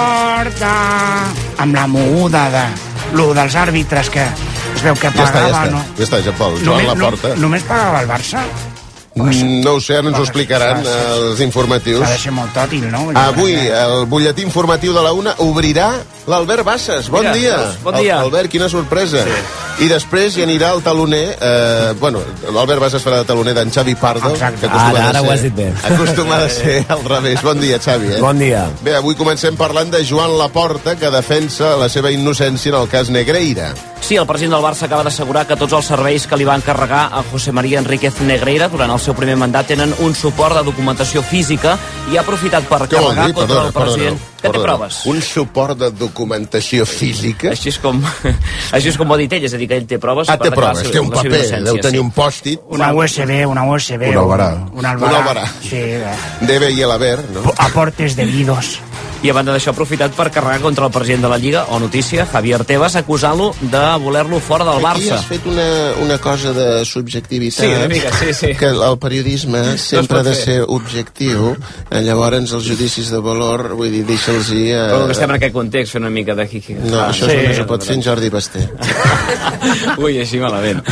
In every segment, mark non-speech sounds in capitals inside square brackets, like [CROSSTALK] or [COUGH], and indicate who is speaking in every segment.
Speaker 1: passa amb la moguda de lo dels àrbitres que es veu que
Speaker 2: Ja està,
Speaker 1: pagava,
Speaker 2: ja està.
Speaker 1: no?
Speaker 2: Ja està, ja Pol. Joan
Speaker 1: només,
Speaker 2: Laporta.
Speaker 1: No, només pagava el Barça?
Speaker 2: Mm, No ho sé, ara ens ho explicaran
Speaker 1: S'ha de
Speaker 2: eh,
Speaker 1: ser-
Speaker 2: els informatius.
Speaker 1: S'ha de ser molt tòtil, no? Jo
Speaker 2: Avui,
Speaker 1: crec que-
Speaker 2: el butlletí informatiu de la una obrirà l'Albert Bassas. Bon
Speaker 3: Mira,
Speaker 2: dia.
Speaker 3: doncs, bon dia.
Speaker 2: Al- Albert, quina sorpresa. I després hi anirà el taloner... Eh, bueno, l'Albert Bassas farà de taloner d'en Xavi Pardo,
Speaker 1: Exacte.
Speaker 2: que acostuma
Speaker 3: Ara,
Speaker 2: de
Speaker 3: ara
Speaker 2: ser,
Speaker 3: ho has dit bé.
Speaker 2: Acostuma de ser al revés. Bon dia, Xavi. Eh?
Speaker 3: Bon dia.
Speaker 2: Bé, avui comencem parlant de Joan Laporta, que defensa la seva innocència en el cas Negreira.
Speaker 4: Sí, el president del Barça acaba d'assegurar que tots els serveis que li va encarregar a José María Enríquez Negreira durant el seu primer mandat tenen un suport de documentació física i ha aprofitat per
Speaker 2: Què vol
Speaker 4: carregar
Speaker 2: dir?
Speaker 4: contra
Speaker 2: Perdona,
Speaker 4: el president.
Speaker 2: perdona,
Speaker 4: Que té
Speaker 2: perdona.
Speaker 4: proves.
Speaker 2: Un suport de documentació física?
Speaker 4: Així és com, [LAUGHS] així és com ho ha dit ell, és a dir, que ell té proves.
Speaker 2: Ah,
Speaker 4: per
Speaker 2: té
Speaker 4: declarar
Speaker 2: proves,
Speaker 4: la
Speaker 2: té
Speaker 4: seva-
Speaker 2: un
Speaker 4: la seva
Speaker 2: paper,
Speaker 4: innocència,
Speaker 2: deu tenir
Speaker 4: sí.
Speaker 2: un pòstit.
Speaker 1: Una USB, una USB.
Speaker 2: Un albarà.
Speaker 1: Un albarà.
Speaker 2: Un albarà.
Speaker 1: Sí, eh,
Speaker 2: Debe i l'haver, no?
Speaker 1: aportes debidos.
Speaker 4: I a banda d'això ha aprofitat per carregar contra el president de la Lliga, o notícia, Javier Tebas, acusant-lo de voler-lo fora del
Speaker 2: Aquí
Speaker 4: Barça.
Speaker 2: has fet una, una cosa de subjectivitat.
Speaker 3: Sí, una mica, sí, sí.
Speaker 2: Que el periodisme sempre
Speaker 3: pot
Speaker 2: ha de
Speaker 3: fer.
Speaker 2: ser objectiu. Eh, Llavors, els judicis de valor, vull dir, deixa'ls hi... Eh...
Speaker 3: Com que estem en aquest context fent una mica de hi hi.
Speaker 4: Ah,
Speaker 2: No, això
Speaker 1: sí.
Speaker 2: només ho pot fer en Jordi Basté.
Speaker 3: Ui, així malament.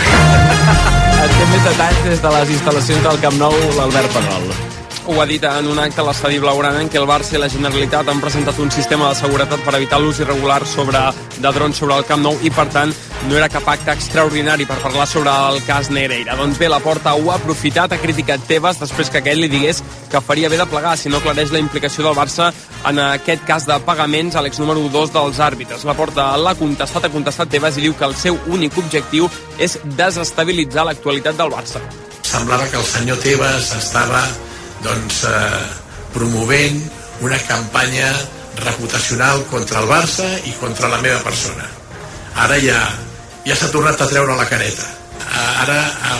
Speaker 3: Ens té més detalls des de les instal·lacions del Camp Nou, l'Albert Pedrol.
Speaker 5: Ho ha dit en un acte a l'estadi blaugrana en què el Barça i la Generalitat han presentat un sistema de seguretat per evitar l'ús irregular sobre, de drons sobre el Camp Nou i, per tant, no era cap acte extraordinari per parlar sobre el cas Nereira. Doncs bé, la porta ho ha aprofitat, ha criticat Tebas després que aquell li digués que faria bé de plegar si no aclareix la implicació del Barça en aquest cas de pagaments a l'ex número 2 dels àrbitres. La porta l'ha contestat, ha contestat Tebas i diu que el seu únic objectiu és desestabilitzar l'actualitat del Barça.
Speaker 6: semblava que el senyor Tebas estava doncs, eh, promovent una campanya reputacional contra el Barça i contra la meva persona. Ara ja, ja s'ha tornat a treure la careta. Eh, Ara ha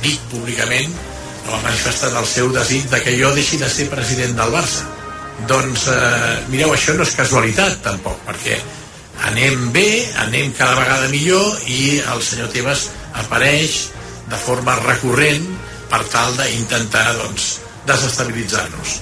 Speaker 6: dit públicament, o ha manifestat el seu desig de que jo deixi de ser president del Barça. Doncs, eh, mireu, això no és casualitat, tampoc, perquè anem bé, anem cada vegada millor i el senyor Tebas apareix de forma recurrent per tal d'intentar doncs, desestabilitzar-nos.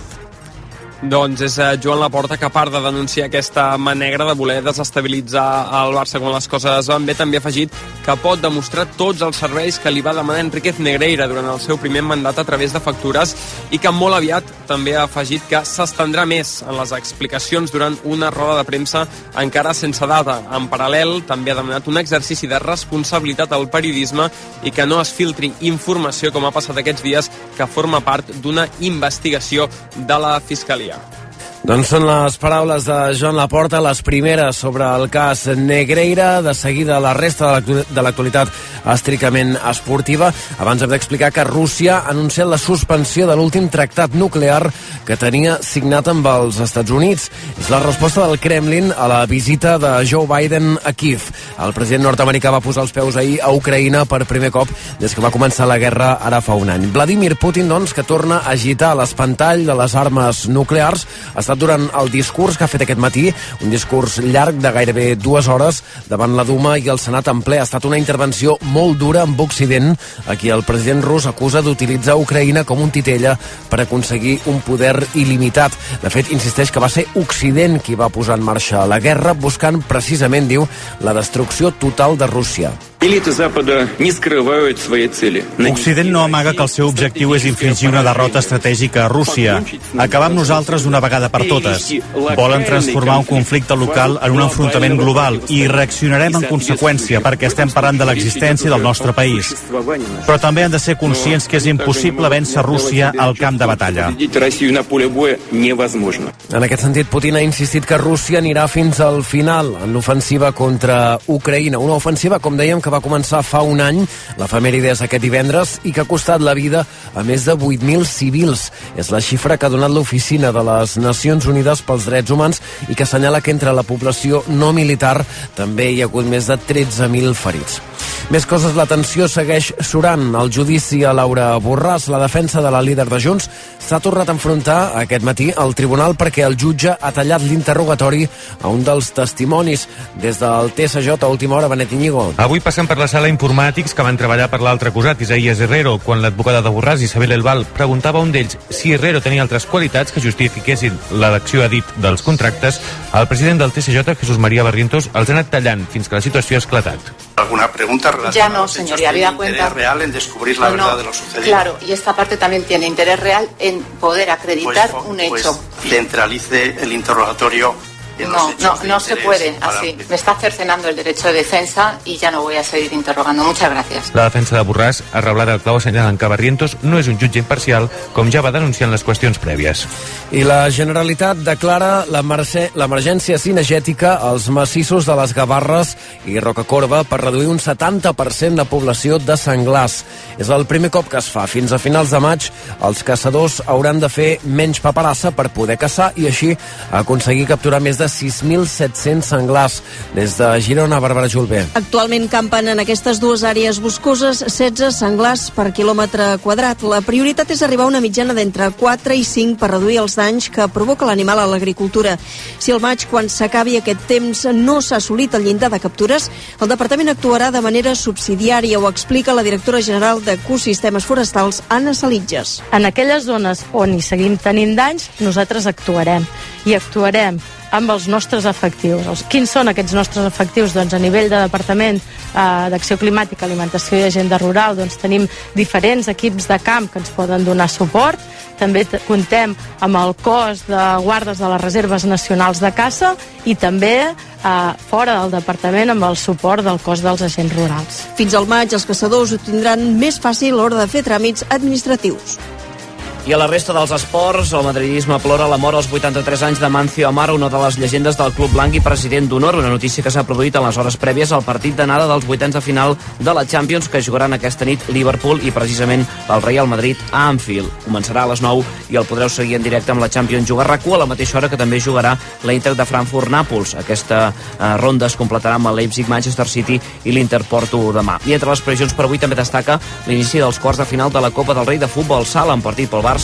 Speaker 5: Doncs és eh, Joan Laporta que a part de denunciar aquesta mà negra de voler desestabilitzar el Barça quan les coses van bé, també ha afegit que pot demostrar tots els serveis que li va demanar Enriquez Negreira durant el seu primer mandat a través de factures i que molt aviat també ha afegit que s'estendrà més en les explicacions durant una roda de premsa encara sense data. En paral·lel, també ha demanat un exercici de responsabilitat al periodisme i que no es filtri informació com ha passat aquests dies que forma part d'una investigació de la Fiscalia.
Speaker 3: Doncs són les paraules de Joan Laporta, les primeres sobre el cas Negreira, de seguida la resta de l'actu- de l'actualitat estrictament esportiva. Abans hem d'explicar que Rússia ha anunciat la suspensió de l'últim tractat nuclear que tenia signat amb els Estats Units. És la resposta del Kremlin a la visita de Joe Biden a Kiev. El president nord-americà va posar els peus ahir a Ucraïna per primer cop des que va començar la guerra ara fa un any. Vladimir Putin, doncs, que torna a agitar l'espantall de les armes nuclears, ha estat durant el discurs que ha fet aquest matí, un discurs llarg de gairebé dues hores davant la Duma i el Senat en ple. Ha estat una intervenció molt dura amb Occident, a qui el president rus acusa d'utilitzar Ucraïna com un titella per aconseguir un poder il·limitat. De fet, insisteix que va ser Occident qui va posar en marxa la guerra, buscant precisament, diu, la destrucció total de Rússia.
Speaker 7: Элиты Запада не скрывают свои цели.
Speaker 8: Occident no amaga que el seu objectiu és infligir una derrota estratègica a Rússia, acabar amb nosaltres d'una vegada per totes. Volen transformar un conflicte local en un enfrontament global i reaccionarem en conseqüència perquè estem parlant de l'existència del nostre país. Però també han de ser conscients que és impossible vèncer Rússia al camp de batalla.
Speaker 7: Победить Россию на поле боя невозможно.
Speaker 3: En aquest sentit, Putin ha insistit que Rússia anirà fins al final en l'ofensiva contra Ucraïna. Una ofensiva, com dèiem, que va començar fa un any, l'efemèride és aquest divendres, i que ha costat la vida a més de 8.000 civils. És la xifra que ha donat l'Oficina de les Nacions Unides pels Drets Humans i que assenyala que entre la població no militar també hi ha hagut més de 13.000 ferits. Més coses, la tensió segueix surant. El judici a Laura Borràs, la defensa de la líder de Junts, s'ha tornat a enfrontar aquest matí al tribunal perquè el jutge ha tallat l'interrogatori a un dels testimonis. Des del TSJ a última hora, Benet Iñigo.
Speaker 9: Avui passem per la sala informàtics que van treballar per l'altre acusat, Isaías Herrero, quan l'advocada de Borràs, Isabel Elbal, preguntava a un d'ells si Herrero tenia altres qualitats que justifiquessin l'elecció a dit dels contractes, el president del TSJ, Jesús María Barrientos, els ha anat tallant fins que la situació ha esclatat.
Speaker 10: ¿Alguna pregunta relacionada
Speaker 11: Ya no,
Speaker 10: a los hechos?
Speaker 11: señoría,
Speaker 10: ¿Tiene
Speaker 11: habida cuenta-
Speaker 10: interés real en descubrir la
Speaker 11: No,
Speaker 10: verdad
Speaker 11: no,
Speaker 10: de lo sucedido?
Speaker 11: Claro, y esta parte también tiene interés real en poder
Speaker 10: Pues
Speaker 11: acreditar
Speaker 10: fo-
Speaker 11: un
Speaker 10: pues
Speaker 11: hecho.
Speaker 10: centralice el interrogatorio en los
Speaker 11: No,
Speaker 10: hechos
Speaker 11: no,
Speaker 10: de
Speaker 11: no se
Speaker 10: interés
Speaker 11: puede
Speaker 10: para
Speaker 11: así. Me está cercenando el derecho de defensa y ya no voy a seguir interrogando. Muchas gracias.
Speaker 9: La defensa de Borràs ha reblat el clau assenyalant que Barrientos no és un jutge imparcial, com ja va denunciar en les qüestions prèvies.
Speaker 3: I la Generalitat declara l'emerce- l'emergència cinegètica als massissos de les Gavarres i Rocacorba per reduir un 70% la població de senglars. És el primer cop que es fa. Fins a finals de maig, els caçadors hauran de fer menys paperassa per poder caçar i així aconseguir capturar més de 6.700 senglars. Des de Girona, Bàrbara Julbé.
Speaker 12: Actualment campen en aquestes dues àrees boscoses 16 senglars per quilòmetre quadrat. La prioritat és arribar a una mitjana d'entre 4 i 5 per reduir els danys que provoca l'animal a l'agricultura. Si al maig, quan s'acabi aquest temps, no s'ha assolit el llindar de captures, el Departament actuarà de manera subsidiària, ho explica la directora general d'Ecosistemes Forestals, Anna Salitges.
Speaker 13: En aquelles zones on hi seguim tenint danys, nosaltres actuarem. I actuarem amb els nostres efectius. Els, quins són aquests nostres efectius? Doncs a nivell de Departament eh, d'Acció Climàtica, Alimentació i Agenda Rural doncs tenim diferents equips de camp que ens poden donar suport. També t- comptem amb el cos de guardes de les reserves nacionals de caça i també eh, fora del Departament amb el suport del cos dels agents rurals.
Speaker 12: Fins al maig, els caçadors ho tindran més fàcil a l'hora de fer tràmits administratius.
Speaker 4: I a la resta dels esports, el madridisme plora la mort als 83 anys de Mancio Amaro, una de les llegendes del Club Blanc i president d'honor, una notícia que s'ha produït en les hores prèvies al partit d'anada dels vuitens de final de la Champions que jugaran aquesta nit Liverpool i precisament el Real Madrid a Anfield. Començarà a les 9 i el podreu seguir en directe amb la Champions Jugar RAC1 a la mateixa hora que també jugarà la Inter de Frankfurt-Nàpols. Aquesta eh, ronda es completarà amb el Leipzig, Manchester City i l'Inter Porto demà. I entre les previsions per avui també destaca l'inici dels quarts de final de la Copa del Rei de Futbol Sala en partit pel Barça,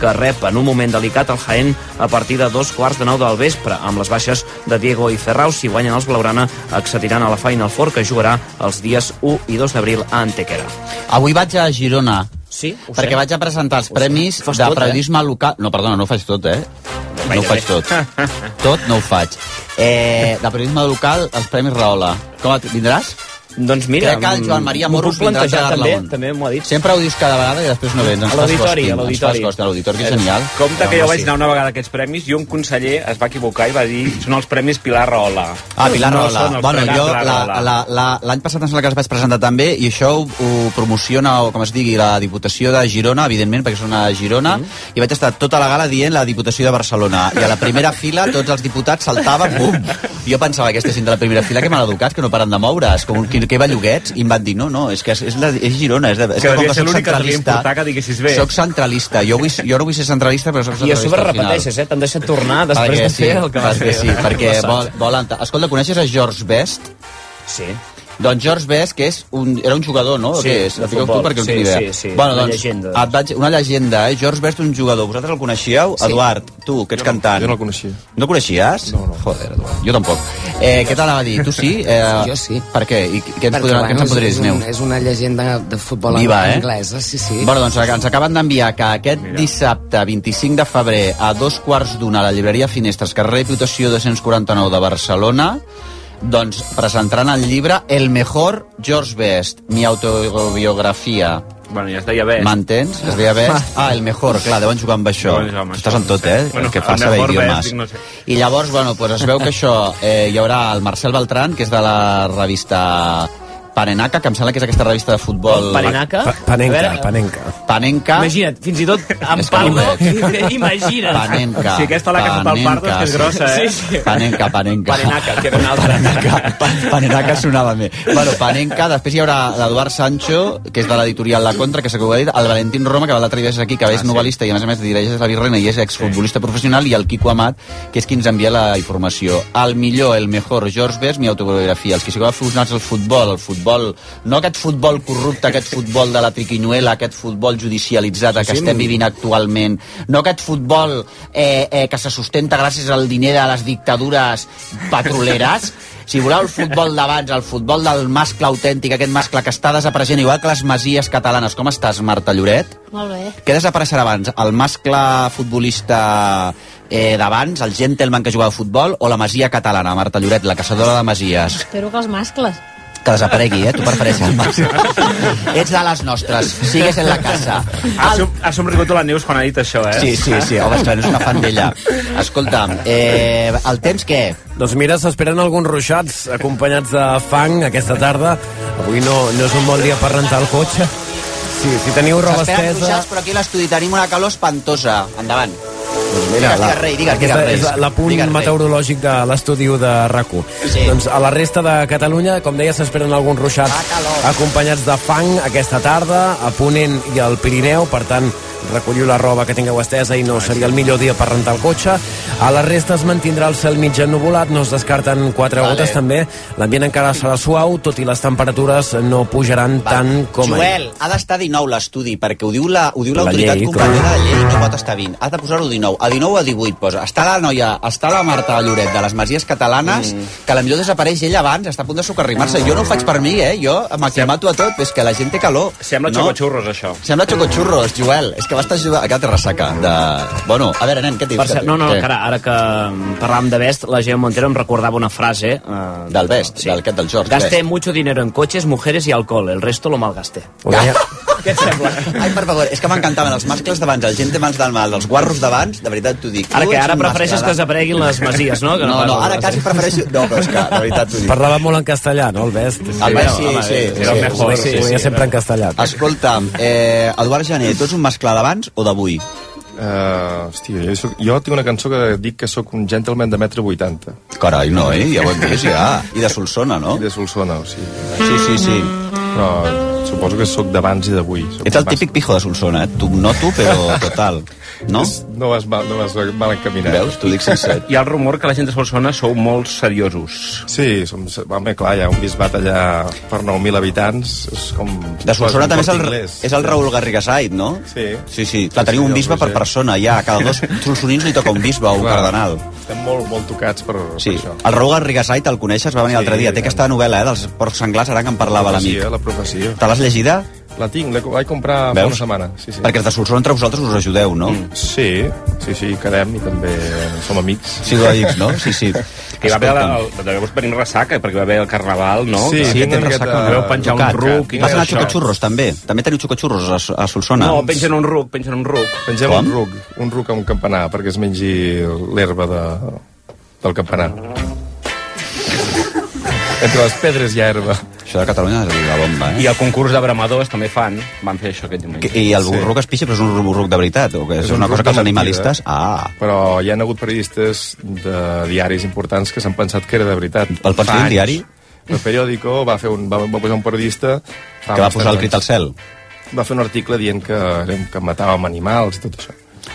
Speaker 4: que rep en un moment delicat el Jaén a partir de dos quarts de nou del vespre, amb les baixes de Diego i Ferrau. Si guanyen els Blaugrana, accediran a la Final Four, que jugarà els dies 1 i 2 d'abril a Antequera.
Speaker 14: Avui vaig a Girona.
Speaker 4: Sí, ho
Speaker 14: perquè
Speaker 4: sé.
Speaker 14: vaig a presentar els
Speaker 4: Ho sé.
Speaker 14: premis
Speaker 4: Fas
Speaker 14: de
Speaker 4: tot, eh?
Speaker 14: periodisme local... No, perdona, no ho faig tot, eh? no ho
Speaker 4: Gairebé.
Speaker 14: faig tot. tot no ho faig. Eh, de periodisme local, els premis Rahola. Com et vindràs?
Speaker 4: Doncs mira,
Speaker 14: Crec que el Joan Maria
Speaker 4: m'ho
Speaker 14: Morros
Speaker 4: puc
Speaker 14: vindrà a
Speaker 4: plantejar,
Speaker 14: Gerard
Speaker 4: també,
Speaker 14: Laon.
Speaker 4: també m'ho ha dit.
Speaker 14: Sempre ho dius cada vegada i després no vens. Ens
Speaker 15: A
Speaker 14: fas
Speaker 15: l'auditori,
Speaker 14: costum,
Speaker 15: a l'auditori.
Speaker 14: Ens fas costa a l'auditori, que és
Speaker 15: Eh,
Speaker 14: genial.
Speaker 15: Compte que
Speaker 14: No,
Speaker 15: jo
Speaker 14: no,
Speaker 15: vaig
Speaker 14: sí.
Speaker 15: anar una vegada a aquests premis i un conseller es va equivocar i va dir són els premis Pilar Rahola.
Speaker 14: Ah, Pilar
Speaker 15: no
Speaker 14: Rahola.
Speaker 15: són els
Speaker 14: bueno,
Speaker 15: premis
Speaker 14: jo
Speaker 15: Pilar
Speaker 14: la-
Speaker 15: Rahola.
Speaker 14: la- la- l'any passat em sembla que els vaig presentar també i això ho, ho promociona, o com es digui, la Diputació de Girona, evidentment, perquè són a Girona, i vaig estar tota la gala dient la Diputació de Barcelona. I a la
Speaker 15: [LAUGHS]
Speaker 14: primera fila tots els diputats saltaven, bum! Jo pensava, aquesta gent de la primera fila, que mal educats, que no paren de moure's, com que, que belluguets, i em van dir, no, no, és que és, és, la, és Girona, és, de, és
Speaker 15: Que
Speaker 14: com
Speaker 15: devia ser
Speaker 14: soc
Speaker 15: l'únic que et devia
Speaker 14: centralista-
Speaker 15: importar que diguessis bé.
Speaker 14: Soc centralista, jo, vull, jo no vull ser centralista, però soc
Speaker 4: I a
Speaker 14: centralista
Speaker 4: sobre
Speaker 14: al final.
Speaker 4: repeteixes, eh? T'han deixat tornar després
Speaker 14: Perquè
Speaker 4: de fer el que vas
Speaker 14: perquè
Speaker 4: fer.
Speaker 14: Sí, perquè
Speaker 4: Passat.
Speaker 14: vol, volen... ta- Escolta, coneixes a George Best?
Speaker 4: Sí.
Speaker 14: Doncs George Best, que és un, era un jugador, no?
Speaker 4: Sí,
Speaker 14: Què és?
Speaker 4: de
Speaker 14: La fiqueu
Speaker 4: futbol.
Speaker 14: tu perquè ho
Speaker 4: Sí,
Speaker 14: tingui bé.
Speaker 4: sí, sí,
Speaker 14: Bueno,
Speaker 4: una
Speaker 14: doncs,
Speaker 4: llegenda.
Speaker 14: Et vaig, una llegenda, eh? George Best, un jugador. Vosaltres el coneixeu?
Speaker 16: Sí.
Speaker 14: Eduard, tu, que ets cantant.
Speaker 16: Jo no el coneixia.
Speaker 14: No el coneixies? No, no. Joder, Eduard. Jo tampoc. Eh, què t'anava a dir? Tu sí? Eh,
Speaker 16: Sí, jo
Speaker 14: sí. Per què? I què ens,
Speaker 16: Perquè,
Speaker 14: podrà, què ens en
Speaker 16: és-
Speaker 14: podries,
Speaker 16: és, un,
Speaker 14: Neus?
Speaker 16: és una llegenda de futbol
Speaker 14: Viva, eh?
Speaker 16: anglesa, sí, sí.
Speaker 14: Bueno, doncs ens acaben d'enviar que aquest dissabte 25 de febrer a dos quarts d'una a la llibreria Finestres, carrer Diputació 249 de Barcelona, doncs presentaran el llibre El mejor George Best, mi autobiografia.
Speaker 15: Bueno, ja es deia bé.
Speaker 14: M'entens? Es deia Best?
Speaker 15: [LAUGHS]
Speaker 14: Ah, el mejor, clar, deuen jugar amb això.
Speaker 15: Deuen jugar amb
Speaker 14: Tu
Speaker 15: això,
Speaker 14: Estàs en tot,
Speaker 15: no sé.
Speaker 14: eh?
Speaker 15: Bueno,
Speaker 14: el que
Speaker 15: el
Speaker 14: fa saber
Speaker 15: mejor Best,
Speaker 14: idiomes.
Speaker 15: dic, no sé.
Speaker 14: I llavors, bueno, pues es veu que això... Eh, hi haurà el Marcel Beltrán, que és de la revista Panenaca, que em sembla que és aquesta revista de futbol...
Speaker 4: Panenaca? Pa-
Speaker 3: Panenca,
Speaker 14: A veure,
Speaker 3: Panenca.
Speaker 14: Panenca.
Speaker 4: Imagina't, fins i
Speaker 14: [LAUGHS]
Speaker 4: tot amb
Speaker 14: És que
Speaker 4: Pablo,
Speaker 14: no veig.
Speaker 4: imagina't.
Speaker 14: Panenca.
Speaker 15: Si aquesta la que ha fet el Pardo és que és grossa, eh?
Speaker 4: Sí, sí.
Speaker 14: Panenca, panenca.
Speaker 4: Panenaca, que era una altra.
Speaker 14: Panenca sonava bé. Bueno, Panenca, després hi haurà l'Eduard Sancho, que és de l'editorial La Contra, que s'ha dit, el Valentín Roma, que va l'altre dia és aquí, que
Speaker 17: Ah,
Speaker 14: és novel·lista i a més a més dirigeix la Virrena i és exfutbolista professional, i el Quico Amat, que és qui ens envia la informació. El millor, el mejor, George Best, mi autobiografia. Els que sigueu aficionats al futbol, al futbol futbol, no aquest futbol corrupte, aquest futbol de la triquinyuela, aquest futbol judicialitzat
Speaker 17: Sí,
Speaker 14: que
Speaker 17: sí,
Speaker 14: estem
Speaker 17: molt-
Speaker 14: vivint actualment, no aquest futbol eh, eh, que se sustenta gràcies al diner de les dictadures [LAUGHS] petroleres, si voleu el futbol d'abans, el futbol del mascle autèntic, aquest mascle que està desapareixent, igual que les masies catalanes. Com estàs, Marta Lloret?
Speaker 18: Molt bé.
Speaker 14: Què desapareixerà abans? El mascle futbolista eh, d'abans, el gentleman que jugava a futbol, o la masia catalana, Marta Lloret, la caçadora de masies?
Speaker 18: Espero que els mascles.
Speaker 14: Que desaparegui, eh? Tu prefereixes el [LAUGHS] mascle. Ets de les nostres, sigues en la casa.
Speaker 15: [LAUGHS] Ha, som, ha somrigut la Neus quan ha dit això, eh?
Speaker 14: Sí, sí, sí, home, esclar, no és una fan d'ella. Escolta'm, eh, el temps què?
Speaker 3: Doncs mira, s'esperen alguns ruixats acompanyats de fang aquesta tarda. Avui no, no és un bon dia per rentar el cotxe. Sí, si teniu roba
Speaker 14: S'esperen
Speaker 3: estesa...
Speaker 14: ruixats, però aquí a l'estudi tenim una calor espantosa. Endavant.
Speaker 3: Doncs
Speaker 14: Digues, digues, rei, digues,
Speaker 3: aquesta
Speaker 14: digues,
Speaker 3: és
Speaker 14: reis.
Speaker 3: l'apunt
Speaker 14: Digues, rei.
Speaker 3: meteorològic de l'estudi de rac Sí. Doncs a la resta de Catalunya, com deia, s'esperen alguns ruixats acompanyats de fang aquesta tarda, a Ponent i al Pirineu, per tant, recolliu la roba que tingueu estesa i no seria el millor dia per rentar el cotxe. A la resta es mantindrà el cel mig ennuvolat, no es descarten quatre
Speaker 14: Vale.
Speaker 3: gotes també. L'ambient encara serà suau, tot i les temperatures no pujaran tant com ahir.
Speaker 14: Joel, ha d'estar 19 l'estudi, perquè ho diu la- ho diu
Speaker 3: La
Speaker 14: l'autoritat
Speaker 3: llei,
Speaker 14: la, competent de la llei, no pot estar 20. Has de posar-ho 19. A 19 o a 18 posa. Està la noia, està la Marta Lloret de les Masies Catalanes, mm. que a la millor desapareix ella abans, està a punt de socarrimar-se. Jo no ho faig per mi, eh? Jo m'aclimato a tot, és que la gent té calor.
Speaker 15: Sembla
Speaker 14: no?
Speaker 15: xocotxurros, això.
Speaker 14: Sembla xocotxurros, Joel. És que vas estar jugant... Acá te ressaca. De... Bueno, a veure, nen, què dius?
Speaker 4: Per cert, no, no,
Speaker 14: Què?
Speaker 4: encara, ara que mm, parlàvem de Best, la Geo Montero em recordava una frase... Eh,
Speaker 14: Del Best, del, aquest del George.
Speaker 4: Gasté
Speaker 14: Best.
Speaker 4: mucho dinero en coches, mujeres y alcohol. El resto lo malgasté. [LAUGHS]
Speaker 14: Ai, per favor, és que m'encantaven els mascles d'abans, el gent de mans del mal, els guarros d'abans, de veritat t'ho dic.
Speaker 4: Ara
Speaker 14: Tu
Speaker 4: que
Speaker 14: ets
Speaker 4: ara
Speaker 14: un
Speaker 4: prefereixes
Speaker 14: mascle
Speaker 4: que desapareguin les masies, no? Que
Speaker 14: no, no, ara quasi prefereixo... No, però és que, de veritat t'ho dic.
Speaker 3: Parlava molt en castellà, no, el Best?
Speaker 14: El Best, sí, sí, sí, sí,
Speaker 3: sí, sí, sí, sempre en castellà.
Speaker 4: [LAUGHS]
Speaker 14: Escolta'm, eh, Eduard Jané, tu ets un mascle d'abans o d'avui?
Speaker 19: Uh, hòstia, jo, soc, jo tinc una cançó que dic que sóc un gentleman de metre 80.
Speaker 14: Carai, no, eh? Ja ho hem vist, ja. I de Solsona, no?
Speaker 19: I de Solsona, o sigui.
Speaker 14: Sí, sí, sí.
Speaker 19: Però suposo que sóc d'abans i d'avui. Sóc
Speaker 14: Ets el
Speaker 19: d'abans.
Speaker 14: típic pijo de Solsona, eh? Tu noto, però total. No?
Speaker 19: És- No vas mal, no vas mal encaminat.
Speaker 14: Veus? T'ho dic sincer.
Speaker 19: Hi ha el rumor que la gent de Solsona sou molt seriosos. Sí, som, home, clar, hi ha un bisbat allà per 9.000 habitants. És com...
Speaker 14: De Solsona també és el,
Speaker 19: Corte Inglés.
Speaker 14: és el Raül Garriga Said, no?
Speaker 19: Sí.
Speaker 14: Sí, sí. Clar, teniu
Speaker 19: sí,
Speaker 14: un
Speaker 19: el
Speaker 14: bisbe per
Speaker 19: Roger.
Speaker 14: persona, ja. A Cada dos solsonins li toca un bisbe o un
Speaker 19: Clar.
Speaker 14: cardenal.
Speaker 19: Estem molt, molt tocats per, per
Speaker 14: Sí.
Speaker 19: això.
Speaker 14: El Raül Garriga Said, el coneixes? Va venir
Speaker 19: Sí,
Speaker 14: l'altre dia.
Speaker 19: i
Speaker 14: Té
Speaker 19: tant.
Speaker 14: aquesta novel·la, eh? Dels porcs senglars, ara que en parlava
Speaker 19: la
Speaker 14: l'amic.
Speaker 19: profecia, eh, la profecia.
Speaker 14: Te l'has llegida?
Speaker 19: La tinc, la vaig comprar fa
Speaker 14: Veus?
Speaker 19: una setmana. Sí, sí.
Speaker 14: Perquè els de Solsona entre vosaltres us ajudeu, no?
Speaker 19: Sí, sí, sí, quedem i també som amics.
Speaker 14: Sí, de amics,
Speaker 19: [LAUGHS]
Speaker 14: no? Sí, sí.
Speaker 15: Que hi va haver el, el, llavors venim ressaca, perquè hi va haver el carnaval, no?
Speaker 14: Sí,
Speaker 15: que
Speaker 14: sí, tens
Speaker 19: eh,
Speaker 14: ressaca.
Speaker 15: Vau penjar un ruc i
Speaker 14: Vas anar a
Speaker 15: això.
Speaker 14: xocotxurros, també? També teniu xocotxurros a, a Solsona?
Speaker 15: No, pengen un ruc, pengen un ruc.
Speaker 19: Pengem
Speaker 14: Com?
Speaker 19: un ruc, un ruc a un campanar perquè es mengi l'herba de, del campanar. Entre les pedres hi ha herba.
Speaker 14: Això de Catalunya és la bomba, eh?
Speaker 15: I el concurs de bramadors també fan, van fer això aquest diumenge.
Speaker 14: Que- I el burruc es pixa, però és un burruc de veritat? O que és,
Speaker 19: un
Speaker 14: una
Speaker 19: ruc
Speaker 14: cosa que
Speaker 19: de
Speaker 14: els animalistes...
Speaker 19: mentida.
Speaker 14: Ah,
Speaker 19: Però hi han hagut periodistes de diaris importants que s'han pensat que era de veritat.
Speaker 14: El pensa dir un diari?
Speaker 19: El periòdico va, fer un, va, va posar un periodista... fa
Speaker 14: que va
Speaker 19: bastants
Speaker 14: posar el
Speaker 19: anys.
Speaker 14: crit al cel.
Speaker 19: Va fer un article dient que, érem- que matàvem animals i tot això.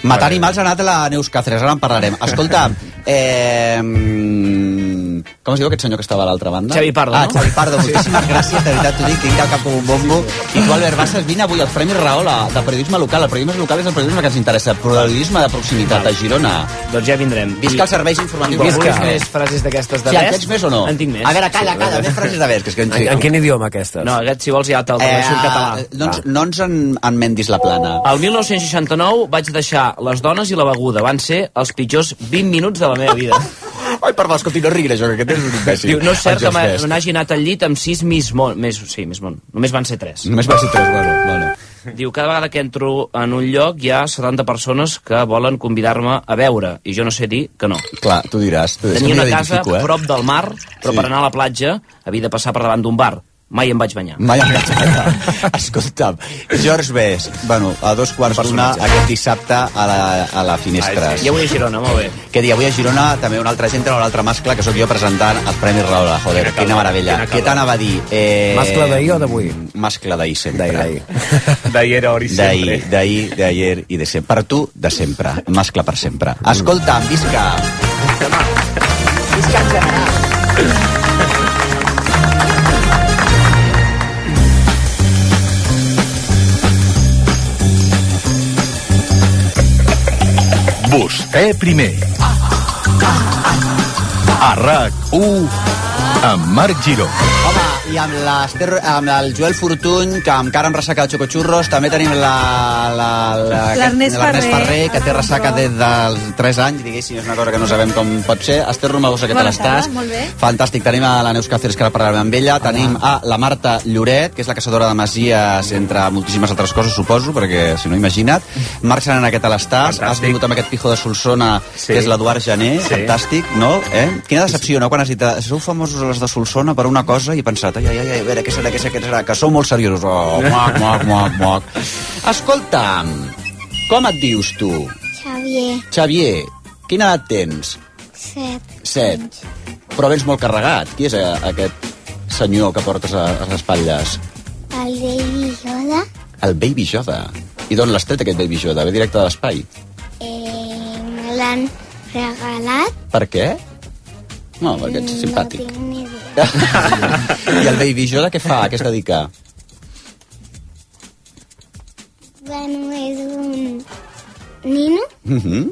Speaker 14: Matar animals ha anat a la Neus Cáceres, ara en parlarem. Escolta,
Speaker 19: [LAUGHS]
Speaker 14: eh, mm, com es diu aquest senyor que estava a l'altra banda?
Speaker 4: Xavi Pardo,
Speaker 14: Ah,
Speaker 4: no?
Speaker 14: Xavi Pardo, moltíssimes gràcies, de veritat, t'ho dic, tinc el cap com un bombo. I tu, Albert Bassas, vine avui al Premi Rahola de periodisme local. El periodisme local és el periodisme que ens interessa, el periodisme de proximitat a Girona.
Speaker 4: Doncs ja vindrem.
Speaker 14: Visca els serveis informatius.
Speaker 4: Visca.
Speaker 14: Visca.
Speaker 4: Més frases d'aquestes de
Speaker 14: Sí, en
Speaker 4: Best?
Speaker 14: tens més o no?
Speaker 4: En tinc més.
Speaker 14: A veure, calla, calla, més frases de Best, que és que en
Speaker 3: En, en quin idioma, aquestes?
Speaker 4: No, aquest, si vols, ja te'l
Speaker 14: Eh,
Speaker 4: tradueixo en català.
Speaker 14: doncs no ens en, en mendis la plana.
Speaker 4: El 1969 vaig deixar les dones i la beguda. Van ser els pitjors 20 minuts de la meva vida.
Speaker 14: Ai, per favor, escolti, no riguin això, que aquest és un imbècil.
Speaker 4: Diu, no és cert
Speaker 14: El
Speaker 4: que
Speaker 14: George Best.
Speaker 4: me- n'hagi anat al llit amb 6 Miss Món. Més, sí, Miss Món. Només van ser 3.
Speaker 14: Només va ser tres, bueno, bueno.
Speaker 4: Diu, cada vegada que entro en un lloc hi ha 70 persones que volen convidar-me a veure i jo no sé dir que no.
Speaker 14: Clar, tu diràs. Tu diràs.
Speaker 4: Tenia
Speaker 14: Jo
Speaker 4: una
Speaker 14: m'hi
Speaker 4: casa
Speaker 14: identifico, eh?
Speaker 4: prop del mar, però per anar a la platja havia de passar per davant d'un bar. Mai em vaig banyar.
Speaker 14: Mai em vaig quedar. [LAUGHS] Escolta'm, George Best, bueno, a dos quarts d'una aquest dissabte a la, a la Finestra.
Speaker 4: Ai, sí. I avui a Girona, molt bé.
Speaker 14: Que dia, avui a Girona també un altre centre, un altre mascle, que sóc jo presentant els Premis Rahola. Joder, quina, meravella. Què t'anava a dir? Eh...
Speaker 3: Mascle d'ahir o d'avui?
Speaker 14: Mascle d'ahir sempre. D'ahir,
Speaker 15: D'ahir era hora i sempre.
Speaker 14: d'ahir, d'ahir, d'ahir i de sempre. Per tu, de sempre. Mascle per sempre. Escolta'm, visca. Visca en general.
Speaker 17: Vostè primer. A RAC1 amb Marc Giró.
Speaker 14: Home, i amb, l'Ester, amb el Joel Fortuny, que amb cara amb ressaca de xocochurros, també tenim la, la, la,
Speaker 18: L'Ernest Ferrer.
Speaker 14: Ferrer, que té ressaca des dels 3 anys, diguéssim, és una cosa que no sabem com pot ser. Esther Romagosa, què tal
Speaker 18: Bona tarda,
Speaker 14: estàs?
Speaker 18: molt bé.
Speaker 14: Fantàstic, tenim a la Neus Cáceres, que ara parlarem amb ella. Tenim a la Marta Lloret, que és la caçadora de masies, entre moltíssimes altres coses, suposo, perquè si no, imagina't. Marc Sanana, què tal estàs? Has vingut amb aquest pijo de Solsona,
Speaker 15: Sí.
Speaker 14: que és l'Eduard Jané,
Speaker 15: Sí.
Speaker 14: fantàstic, no? Eh? Quina decepció, no?, quan has dit eh, sou famosos les de Solsona per una cosa i he pensat, ai, ai, ai, a veure, què serà, què serà, què serà, que sou molt seriosos. Oh, moc, moc, moc, moc. Escolta'm, com et dius tu?
Speaker 20: Xavier,
Speaker 14: Xavier, quina edat tens?
Speaker 20: set,
Speaker 14: Set. Però vens molt carregat. Qui és eh, aquest senyor que portes a, a les espatlles?
Speaker 20: el Baby Yoda,
Speaker 14: El Baby Yoda. I d'on l'has tret, aquest Baby Yoda? Ve directe de l'espai.
Speaker 20: eh, me l'han regalat.
Speaker 14: Per què? No, perquè ets simpàtic.
Speaker 20: No tinc ni idea.
Speaker 14: I el Baby Yoda què fa? A què es dedica?
Speaker 20: Bueno, és un nino
Speaker 14: Mm -hmm.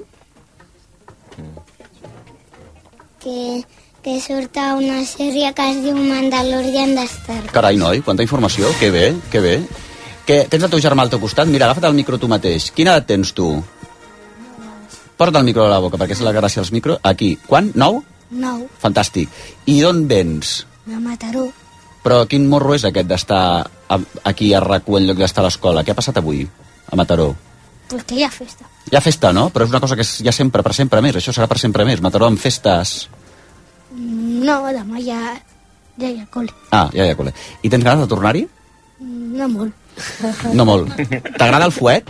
Speaker 20: que, que surt a una sèrie que es diu Mandalorian de Star Wars.
Speaker 14: Carai, noi, quanta informació. Que bé, que bé. Que tens el teu germà al teu costat? Mira, agafa't el micro tu mateix. Quina edat tens tu? Porta el micro a la boca, perquè és la gràcia als micro. Aquí. Quan? Nou?
Speaker 20: Nou,
Speaker 14: Fantàstic. I d'on vens?
Speaker 20: de Mataró.
Speaker 14: Però quin morro és aquest d'estar a- aquí a rac en lloc d'estar a l'escola? Què ha passat avui a Mataró?
Speaker 20: Perquè hi ha festa.
Speaker 14: Hi ha festa, no? Però és una cosa que és ja sempre, per sempre més. Això serà per sempre més. Mataró amb festes...
Speaker 20: No, demà ja, ja hi ha col·le.
Speaker 14: Ah, ja, ja, col·le. I tens ganes de tornar-hi?
Speaker 20: No molt.
Speaker 14: No molt. T'agrada el fuet?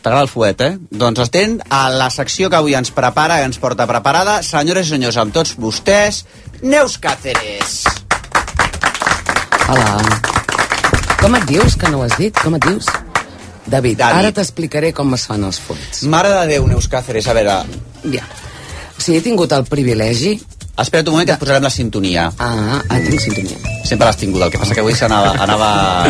Speaker 14: T'agrada el fuet, eh? Doncs estem a la secció que avui ens prepara, que ens porta preparada. Senyores i senyors, amb tots vostès, Neus Cáceres.
Speaker 16: Hola. Com et dius, que no ho has dit? Com et dius? David, David. ara t'explicaré com es fan els fuets.
Speaker 14: Mare de Déu, Neus Cáceres, a veure...
Speaker 16: Ja. O sigui, he tingut el privilegi...
Speaker 14: Espera't un moment que et posarem la sintonia.
Speaker 16: Ah, ah tinc sintonia.
Speaker 14: Sempre l'has tingut, el que passa que avui s'anava...
Speaker 16: [LAUGHS]
Speaker 14: Anava...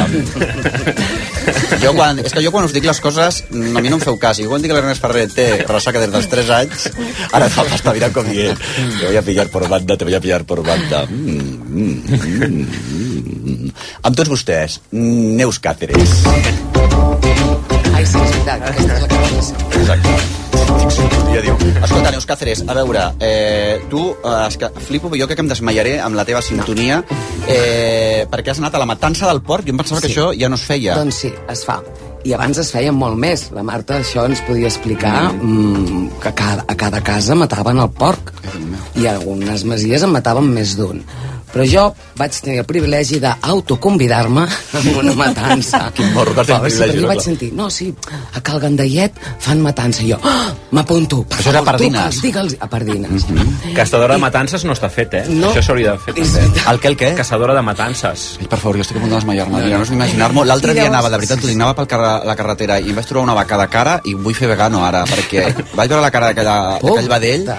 Speaker 14: Jo quan, és que jo quan us dic les coses, no, a mi no em feu cas. I quan dic que l'Ernest Ferrer té ressaca des dels 3 anys, ara fa pasta mirant com dient, te voy a pillar por banda, te voy a pillar por banda. Mm, mm, mm, mm. Amb tots vostès, Neus Cáceres.
Speaker 16: Ai, sí, és veritat, aquesta és la que tenies.
Speaker 14: Exacte. Ja diu. Escolta, Neus Cáceres, a veure, eh, tu, eh, és que flipo, jo crec que em desmaiaré amb la teva sintonia, eh, perquè has anat a la matança del porc, jo em pensava que això ja no es feia.
Speaker 16: Doncs sí, es fa. I abans es feien molt més. La Marta això ens podia explicar mm, que a cada, a cada casa mataven el porc. I algunes masies en mataven més d'un. Però jo vaig tenir el privilegi d'autoconvidar-me en una matança.
Speaker 14: [LAUGHS] Quin morro que has tingut
Speaker 16: Clar, sí,
Speaker 14: privilegi,
Speaker 16: perquè
Speaker 14: no,
Speaker 16: jo vaig
Speaker 14: clar.
Speaker 16: sentir, no, sí, a Cal Gandallet fan matança. I jo, ah, m'apunto. per
Speaker 15: Això era
Speaker 16: favor,
Speaker 15: Pardines.
Speaker 16: truca'ls, Digue'ls, a Pardines. Mm
Speaker 15: Caçadora de matances no està fet, eh?
Speaker 16: No.
Speaker 15: Això s'hauria de fer.
Speaker 16: també.
Speaker 14: El què, el què?
Speaker 15: Caçadora de matances.
Speaker 14: Ai, per favor, jo estic a punt de desmaiar-me.
Speaker 15: No,
Speaker 14: Mira,
Speaker 15: no.
Speaker 14: no us
Speaker 16: [LAUGHS]
Speaker 14: imaginar-m'ho. L'altre
Speaker 15: I
Speaker 14: dia
Speaker 15: llavors-
Speaker 14: anava, de veritat, t'ho dic, anava per carre, la carretera i em vaig trobar una vaca de cara i vull fer vegano ara, perquè vaig veure la cara d'aquella- d'aquell vedell.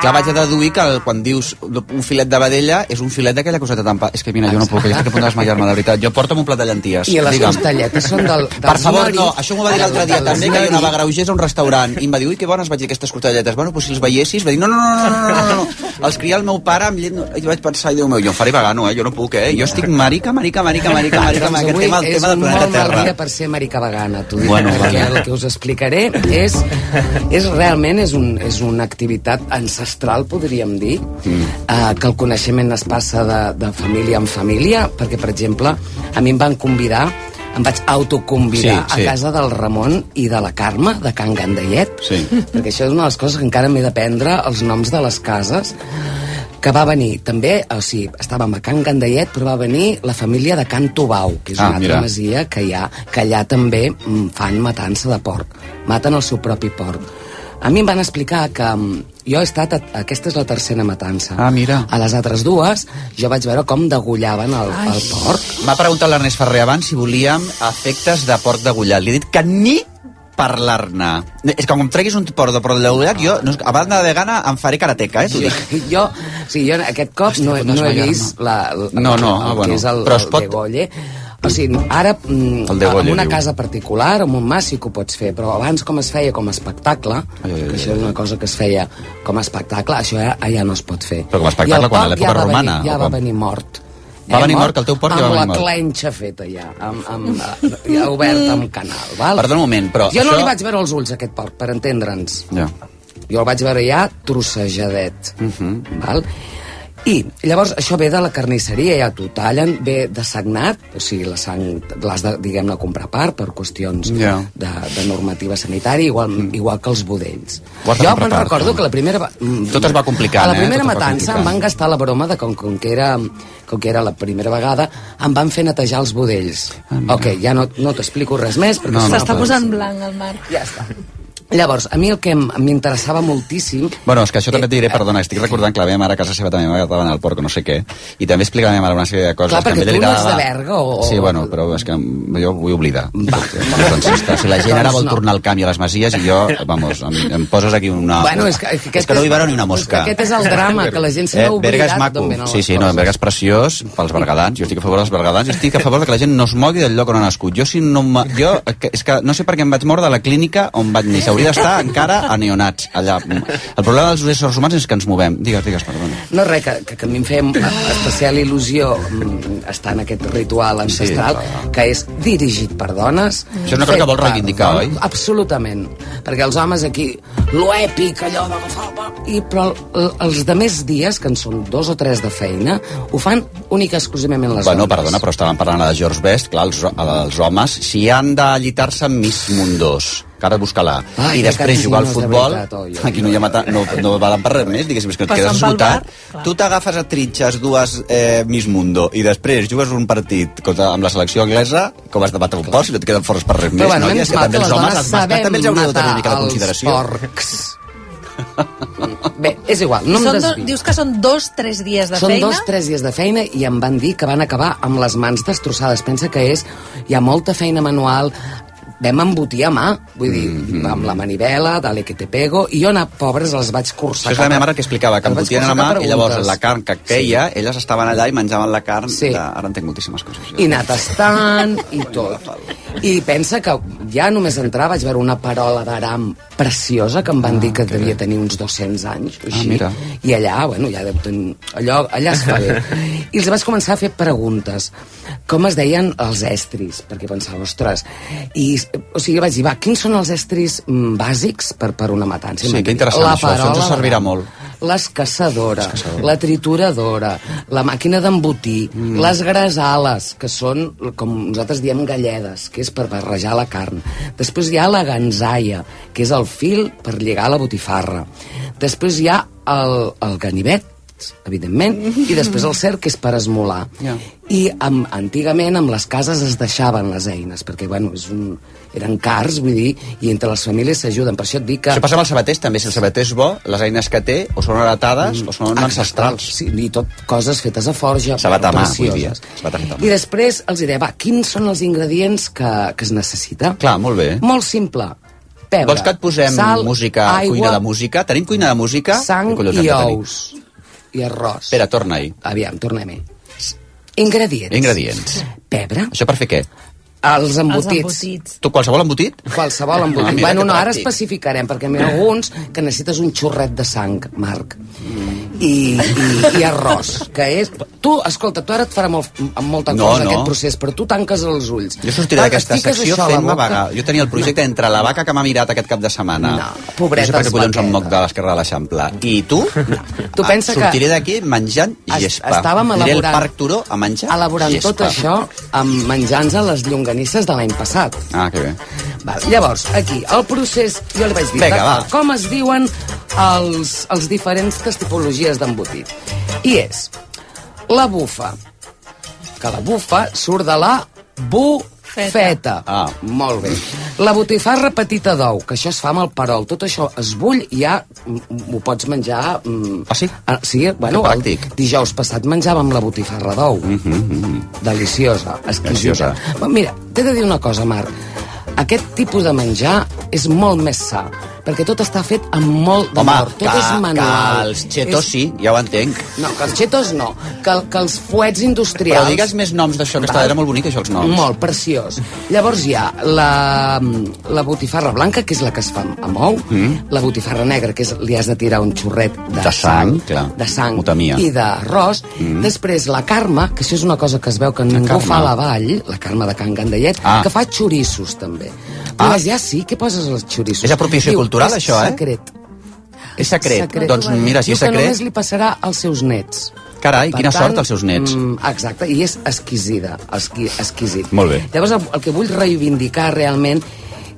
Speaker 14: Clar, vaig a deduir que el, quan dius un filet de vedella és un filet d'aquella coseta tan... pa- És que, mira, jo no puc, jo estic a punt de desmaiar-me, de veritat. Jo porta'm un plat de llenties.
Speaker 16: I les
Speaker 14: digue'm.
Speaker 16: costelletes són del- dels
Speaker 14: Per favor,
Speaker 16: noris.
Speaker 14: no, això m'ho va dir l'altre dia,
Speaker 16: Dels
Speaker 14: també, que jo anava
Speaker 16: noris.
Speaker 14: a Graugers a un restaurant i em va dir, ui, que bones, vaig dir aquestes costelletes. Bueno, doncs si els veiessis, va dir, no, no, no, no, no, no, no. Els cria el meu pare amb llet... I vaig pensar, i Déu meu, jo em faré vegano, eh? Jo no puc, eh? Jo estic marica, marica, marica,
Speaker 16: [LAUGHS]
Speaker 14: marica, marica, amb aquest
Speaker 16: Doncs avui
Speaker 14: tema, el tema del planeta
Speaker 16: És un molt mal dia
Speaker 14: Terra.
Speaker 16: per ser marica vegana, t'ho dic,
Speaker 14: Bueno,
Speaker 16: bueno, perquè
Speaker 14: vale.
Speaker 16: el que us explicaré és, és realment és, un, és una activitat ancestral, podríem dir, eh, que el coneixement es passa de, de família en família, perquè, per exemple, a mi em van convidar em vaig autoconvidar
Speaker 14: Sí, sí.
Speaker 16: a casa del Ramon i de la Carme, de Can Gandallet,
Speaker 14: Sí.
Speaker 16: perquè això és una de les coses que encara m'he d'aprendre, els noms de les cases, que va venir també, o sigui, estàvem a Can Gandallet, però va venir la família de Can Tobau, que és
Speaker 14: Ah,
Speaker 16: una altra
Speaker 14: mira.
Speaker 16: masia que hi ha, que allà també mm, fan matança de porc. Maten el seu propi porc. A mi em van explicar que mm, jo he estat... A, aquesta és la tercera matança.
Speaker 14: Ah, mira.
Speaker 16: A les altres dues jo vaig veure com degollaven el, el porc.
Speaker 14: M'ha preguntat l'Ernest Ferrer abans si volíem efectes de porc degullat. Li he dit que ni parlar-ne. És que com em treguis un porc de porc degullat, jo, no, a banda de gana, em faré karateka, eh? T'ho dic.
Speaker 16: Jo, o sigui, jo aquest cop no, he-
Speaker 14: puc
Speaker 16: no he
Speaker 14: desmaiar-me.
Speaker 16: vist la, la,
Speaker 14: No, no,
Speaker 16: el
Speaker 14: ah, bueno.
Speaker 16: que és el,
Speaker 14: Però es
Speaker 16: el
Speaker 14: pot-
Speaker 16: degolle. O sigui, ara, mm,
Speaker 14: El de Goya,
Speaker 16: en una
Speaker 14: diu.
Speaker 16: casa particular, amb un mas sí que ho pots fer, però abans com es feia com a espectacle, que això era una cosa que es feia com a espectacle, això ja, ja no es pot fer.
Speaker 14: Però com a espectacle,
Speaker 16: I el
Speaker 14: quan? A
Speaker 16: porc
Speaker 14: l'època
Speaker 16: ja va
Speaker 14: romana,
Speaker 16: Venir, ja
Speaker 14: o
Speaker 16: va
Speaker 14: com?
Speaker 16: venir mort.
Speaker 14: Va venir mort, que el teu porc ja va venir
Speaker 16: Amb
Speaker 14: mort.
Speaker 16: la clenxa feta ja, amb,
Speaker 14: [LAUGHS]
Speaker 16: amb, ja obert amb canal, val?
Speaker 14: Perdona un moment, però
Speaker 16: jo
Speaker 14: això...
Speaker 16: no li vaig veure els ulls, a aquest porc, per entendre'ns.
Speaker 14: Ja.
Speaker 16: Jo el vaig veure ja trossejadet. Uh
Speaker 14: Mhm.
Speaker 16: -huh. val? I llavors això ve de la carnisseria, ja t'ho tallen, ve de sagnat, o sigui, la sang l'has de, diguem-ne, comprar a part per qüestions
Speaker 14: Ja. Mm.
Speaker 16: de, de normativa sanitària, igual, igual que els budells.
Speaker 14: Ho has de
Speaker 16: Jo
Speaker 14: comprar
Speaker 16: me'n
Speaker 14: a part,
Speaker 16: recordo
Speaker 14: tu.
Speaker 16: que la primera... va- mm,
Speaker 14: Tot es va complicant,
Speaker 16: A la
Speaker 14: eh?
Speaker 16: primera
Speaker 14: Tot es va
Speaker 16: matança em
Speaker 14: complicant.
Speaker 16: van gastar la broma de com, com, que era, com que era la primera vegada, em van fer netejar els budells.
Speaker 14: Ah,
Speaker 16: ok, ja no, no t'explico res més. perquè si no,
Speaker 18: S'està
Speaker 16: doncs-
Speaker 18: posant blanc el Marc.
Speaker 16: Ja està. Llavors, a mi el que em- m'interessava moltíssim
Speaker 14: Bueno, és que això també et diré, perdona, estic recordant que la meva mare a casa seva també m'agradaven el porc o no sé què, i també explica la meva mare una sèrie de coses
Speaker 16: Clar,
Speaker 14: que a
Speaker 16: perquè
Speaker 14: ella
Speaker 16: tu
Speaker 14: li
Speaker 16: no ets de
Speaker 14: agradava.
Speaker 16: Berga o...
Speaker 14: Sí, bueno, però és que jo ho vull oblidar. Va. Doncs,
Speaker 16: [LAUGHS]
Speaker 14: està, si la gent
Speaker 16: Doncs
Speaker 14: ara vol
Speaker 16: no.
Speaker 14: tornar al camp i a les masies i jo, vamos, em, em poses aquí una...
Speaker 16: Bueno, és que- és
Speaker 14: és
Speaker 16: que aquest
Speaker 14: que no
Speaker 16: és-
Speaker 14: hi veure ni una mosca.
Speaker 16: és que aquest és el drama, que la gent se n'ha oblidat
Speaker 14: Berga és maco.
Speaker 16: d'on venen
Speaker 14: Sí,
Speaker 16: les
Speaker 14: sí, no, Berga és preciós pels bergadans. Jo estic a favor dels bergadans. Jo estic a favor de que la gent no es mogui del lloc on ha nascut. Jo, si no, em- jo que- és que no sé per què em vaig moure de la clínica on vaig néixer. Hauria d'estar encara a neonats, allà. El problema dels éssers humans és que ens movem. Digues, digues, perdona.
Speaker 16: No, res, que, que, que a mi em feia especial il·lusió mm, estar en aquest ritual ancestral sí, que és dirigit per dones.
Speaker 14: Això és una cosa
Speaker 16: fet
Speaker 14: que vols
Speaker 16: per
Speaker 14: reivindicar,
Speaker 16: dones.
Speaker 14: oi?
Speaker 16: Absolutament. Perquè els homes aquí, lo èpic, allò d'agafar... el pa- I, però el- els de més dies, que en són dos o tres de feina, ho fan única exclusivament les
Speaker 14: Bueno,
Speaker 16: dones.
Speaker 14: perdona, però estàvem parlant de George Best, clar, els, eh, els homes, si han de llitar-se amb Miss Mundós, que ara busca-la,
Speaker 16: Ai,
Speaker 14: i
Speaker 16: que
Speaker 14: després
Speaker 16: casinos
Speaker 14: jugar al
Speaker 16: de
Speaker 14: futbol,
Speaker 16: veritat, oh, oi, oi,
Speaker 14: [LAUGHS] aquí no hi ha mata, no, no valen per res més, diguéssim, és que et
Speaker 16: Passant
Speaker 14: quedes
Speaker 16: pel bar,
Speaker 14: esgotat, tu t'agafes a tritxes dues eh, Miss Mundo, i després jugues un partit contra, amb la selecció anglesa, com has de matar un porc, si no et queden forts per res
Speaker 16: Però
Speaker 14: més,
Speaker 16: bueno,
Speaker 14: noies,
Speaker 16: menys
Speaker 14: que
Speaker 16: mal
Speaker 14: també
Speaker 16: que
Speaker 14: els
Speaker 16: les
Speaker 14: homes,
Speaker 16: dones
Speaker 14: els mascles,
Speaker 16: sabem
Speaker 14: també els hauria de tenir una mica
Speaker 16: matar
Speaker 14: de
Speaker 16: els
Speaker 14: consideració.
Speaker 16: porcs. Bé, és igual, no
Speaker 18: No
Speaker 16: em
Speaker 18: són do,
Speaker 16: desvio.
Speaker 18: dius que són dos, tres dies de
Speaker 16: Són
Speaker 18: feina.
Speaker 16: dos, tres dies de feina i em van dir que van acabar amb les mans destrossades. Pensa que és... Hi ha molta feina manual, vam embotir a mà, vull dir,
Speaker 14: Mhm.
Speaker 16: amb la manivela, dale que te pego, i jo, anar pobres, els vaig
Speaker 14: Això
Speaker 16: cursar.
Speaker 14: és la meva mare que explicava, que
Speaker 16: em
Speaker 14: em
Speaker 16: vaig
Speaker 14: botien a la mà
Speaker 16: posar
Speaker 14: i llavors
Speaker 16: preguntes.
Speaker 14: la carn que queia, elles estaven allà i menjaven la carn. De... Ara entenc moltíssimes coses.
Speaker 16: i anar tastant i tot. I pensa que ja només entrar vaig veure una parola d'aram preciosa que em
Speaker 14: Ah,
Speaker 16: van dir que devia tenir uns 200 anys. o Així.
Speaker 14: mira.
Speaker 16: I allà, bueno, ja deu tenir... Allò, allà es
Speaker 14: [LAUGHS]
Speaker 16: fa bé. I els vaig començar a fer preguntes. Com es deien els estris? Perquè pensava, ostres... I, o sigui, vaig dir, va, quins són els estris mm, bàsics per, per una matança? I
Speaker 14: Sí,
Speaker 16: em van
Speaker 14: que
Speaker 16: dir,
Speaker 14: interessant
Speaker 16: la
Speaker 14: això, això ens
Speaker 16: parola
Speaker 14: servirà
Speaker 16: d'aram
Speaker 14: molt.
Speaker 16: les caçadores, la trituradora, la màquina d'embotir, mm. les gresales, que són, com nosaltres diem, galledes, que és per barrejar la carn. Després hi ha la ganzaia, que és el fil per lligar la botifarra. Després hi ha el, el ganivet, evidentment, i després el cerc, que és per esmolar.
Speaker 14: Ja.
Speaker 16: I amb, antigament amb les cases es deixaven les eines, perquè bueno, és un, eren cars, vull dir, i entre les famílies s'ajuden. Per això et dic que...
Speaker 14: Això passa amb els sabaters també, si el sabater és bo, les eines que té o són heretades mm. o són ancestrals.
Speaker 16: Sí, i tot coses fetes a forja.
Speaker 14: Sabata a mà, vull dir.
Speaker 16: precioses.
Speaker 14: Sabata feta a mà.
Speaker 16: I després els hi deia, va, quins són els ingredients que, que es necessita?
Speaker 14: Clar, molt bé.
Speaker 16: Molt simple. Pebre,
Speaker 14: Vols que et posem
Speaker 16: sal,
Speaker 14: música,
Speaker 16: aigua,
Speaker 14: cuina de música? Tenim cuina de música?
Speaker 16: sang
Speaker 14: Què collons
Speaker 16: i
Speaker 14: hem de tenir?
Speaker 16: ous i arròs.
Speaker 14: Espera, torna-hi.
Speaker 16: Aviam, tornem-hi. Ingredients.
Speaker 14: Ingredients.
Speaker 16: Pebre.
Speaker 14: Això per fer què?
Speaker 16: Els embotits.
Speaker 14: Tu, qualsevol embotit?
Speaker 16: Qualsevol
Speaker 14: Ah,
Speaker 16: embotit.
Speaker 14: mira,
Speaker 16: bueno,
Speaker 14: que
Speaker 16: no, ara
Speaker 14: pràctic.
Speaker 16: especificarem, perquè n'hi ha alguns que necessites un xorret de sang, Marc. I, i, i arròs, que és... Tu, escolta, tu ara et farà molt, amb molta
Speaker 14: No,
Speaker 16: cosa
Speaker 14: no.
Speaker 16: aquest procés, però tu tanques els ulls.
Speaker 14: Jo sortiré
Speaker 16: Ara,
Speaker 14: d'aquesta
Speaker 16: fiques
Speaker 14: secció
Speaker 16: això a la
Speaker 14: fent-me
Speaker 16: boca.
Speaker 14: vaga. Jo tenia el projecte entre la vaca que m'ha mirat aquest cap de setmana. No,
Speaker 16: pobretes
Speaker 14: No sé per què collons em moc de l'esquerra de l'Eixample. I tu? No.
Speaker 16: Tu pensa que-
Speaker 14: sortiré d'aquí menjant
Speaker 16: Es-
Speaker 14: gespa.
Speaker 16: estàvem
Speaker 14: Aniré al
Speaker 16: elaborant-
Speaker 14: Parc Turó a menjar
Speaker 16: Elaborant
Speaker 14: gespa.
Speaker 16: tot això amb menjant-se les llonganisses de l'any passat.
Speaker 14: Ah, que bé.
Speaker 16: Val, llavors, aquí, el procés, jo li vaig dir
Speaker 14: Vinga,
Speaker 16: de-
Speaker 14: va.
Speaker 16: com es diuen els, els diferents tipologies d'embotit. I és la bufa, que la bufa surt de la bufeta. Ah. Molt bé. La botifarra petita d'ou, que això es fa amb el perol. Tot això es bull i ja mm, ho pots menjar... Ah, sí? Ah, sí, bueno,
Speaker 14: Que
Speaker 16: el dijous passat menjàvem la botifarra d'ou. Mm -hmm. Deliciosa, exquisita.
Speaker 14: Deliciosa.
Speaker 16: Mira, t'he de dir una cosa, Marc. Aquest tipus de menjar és molt més sa. perquè tot està fet amb molt d'amor, tot és manual.
Speaker 14: que els xetos sí, ja ho entenc.
Speaker 16: No, que els xetos no, que, que els fuets industrials...
Speaker 14: Però digues més noms d'això, que estava, era molt bonic, això, els noms.
Speaker 16: Molt, preciós. Llavors hi ha la, la botifarra blanca, que és la que es fa amb ou, mm. la botifarra negra, que és, li has de tirar un xorret de,
Speaker 14: De sang, clar.
Speaker 16: de sang
Speaker 14: Ho temia.
Speaker 16: i d'arròs.
Speaker 14: Mm.
Speaker 16: Mm. Després la Carme, que això és una cosa que es veu que ningú
Speaker 14: Carme.
Speaker 16: fa a la vall, la Carme de Can Gandallet,
Speaker 14: Ah.
Speaker 16: ah. que fa xoriços també. Ah.
Speaker 14: Ah.
Speaker 16: Però ja sí, què poses als xoriços?
Speaker 14: És apropiació
Speaker 16: Diu,
Speaker 14: cultural,
Speaker 16: és
Speaker 14: això, eh?
Speaker 16: Secret.
Speaker 14: És secret. Doncs mira, si
Speaker 16: Diu
Speaker 14: és secret...
Speaker 16: que només li passarà als seus nets.
Speaker 14: Carai, quina sort als seus nets.
Speaker 16: Mm, exacte, i és exquisida, esqui, exquisit.
Speaker 14: Molt bé.
Speaker 16: Llavors, el, el que vull reivindicar realment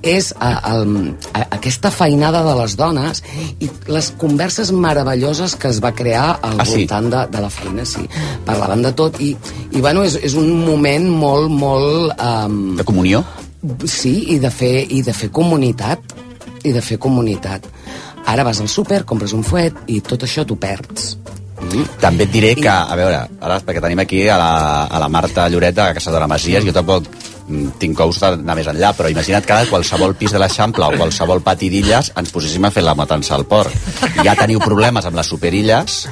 Speaker 16: és a, el, a, aquesta feinada de les dones i les converses meravelloses que es va crear al
Speaker 14: Ah,
Speaker 16: ah,
Speaker 14: sí?
Speaker 16: voltant de, de la feina, sí. Parlaven de tot i, i bueno, és, és un moment molt, molt... Um,
Speaker 14: de comunió?
Speaker 16: Sí, i de, fer, i de fer comunitat. I de fer comunitat. Ara vas al súper, compres un fuet i tot això t'ho perds.
Speaker 14: També et diré que, a veure, ara, perquè tenim aquí a la, a la Marta Lloret de Casa de la Masies, jo tampoc mm, tinc ous d'anar més enllà, però imagina't que ara qualsevol pis de l'Eixample o qualsevol pati d'illes ens poséssim a fer la matança al port. Ja teniu problemes amb les superilles,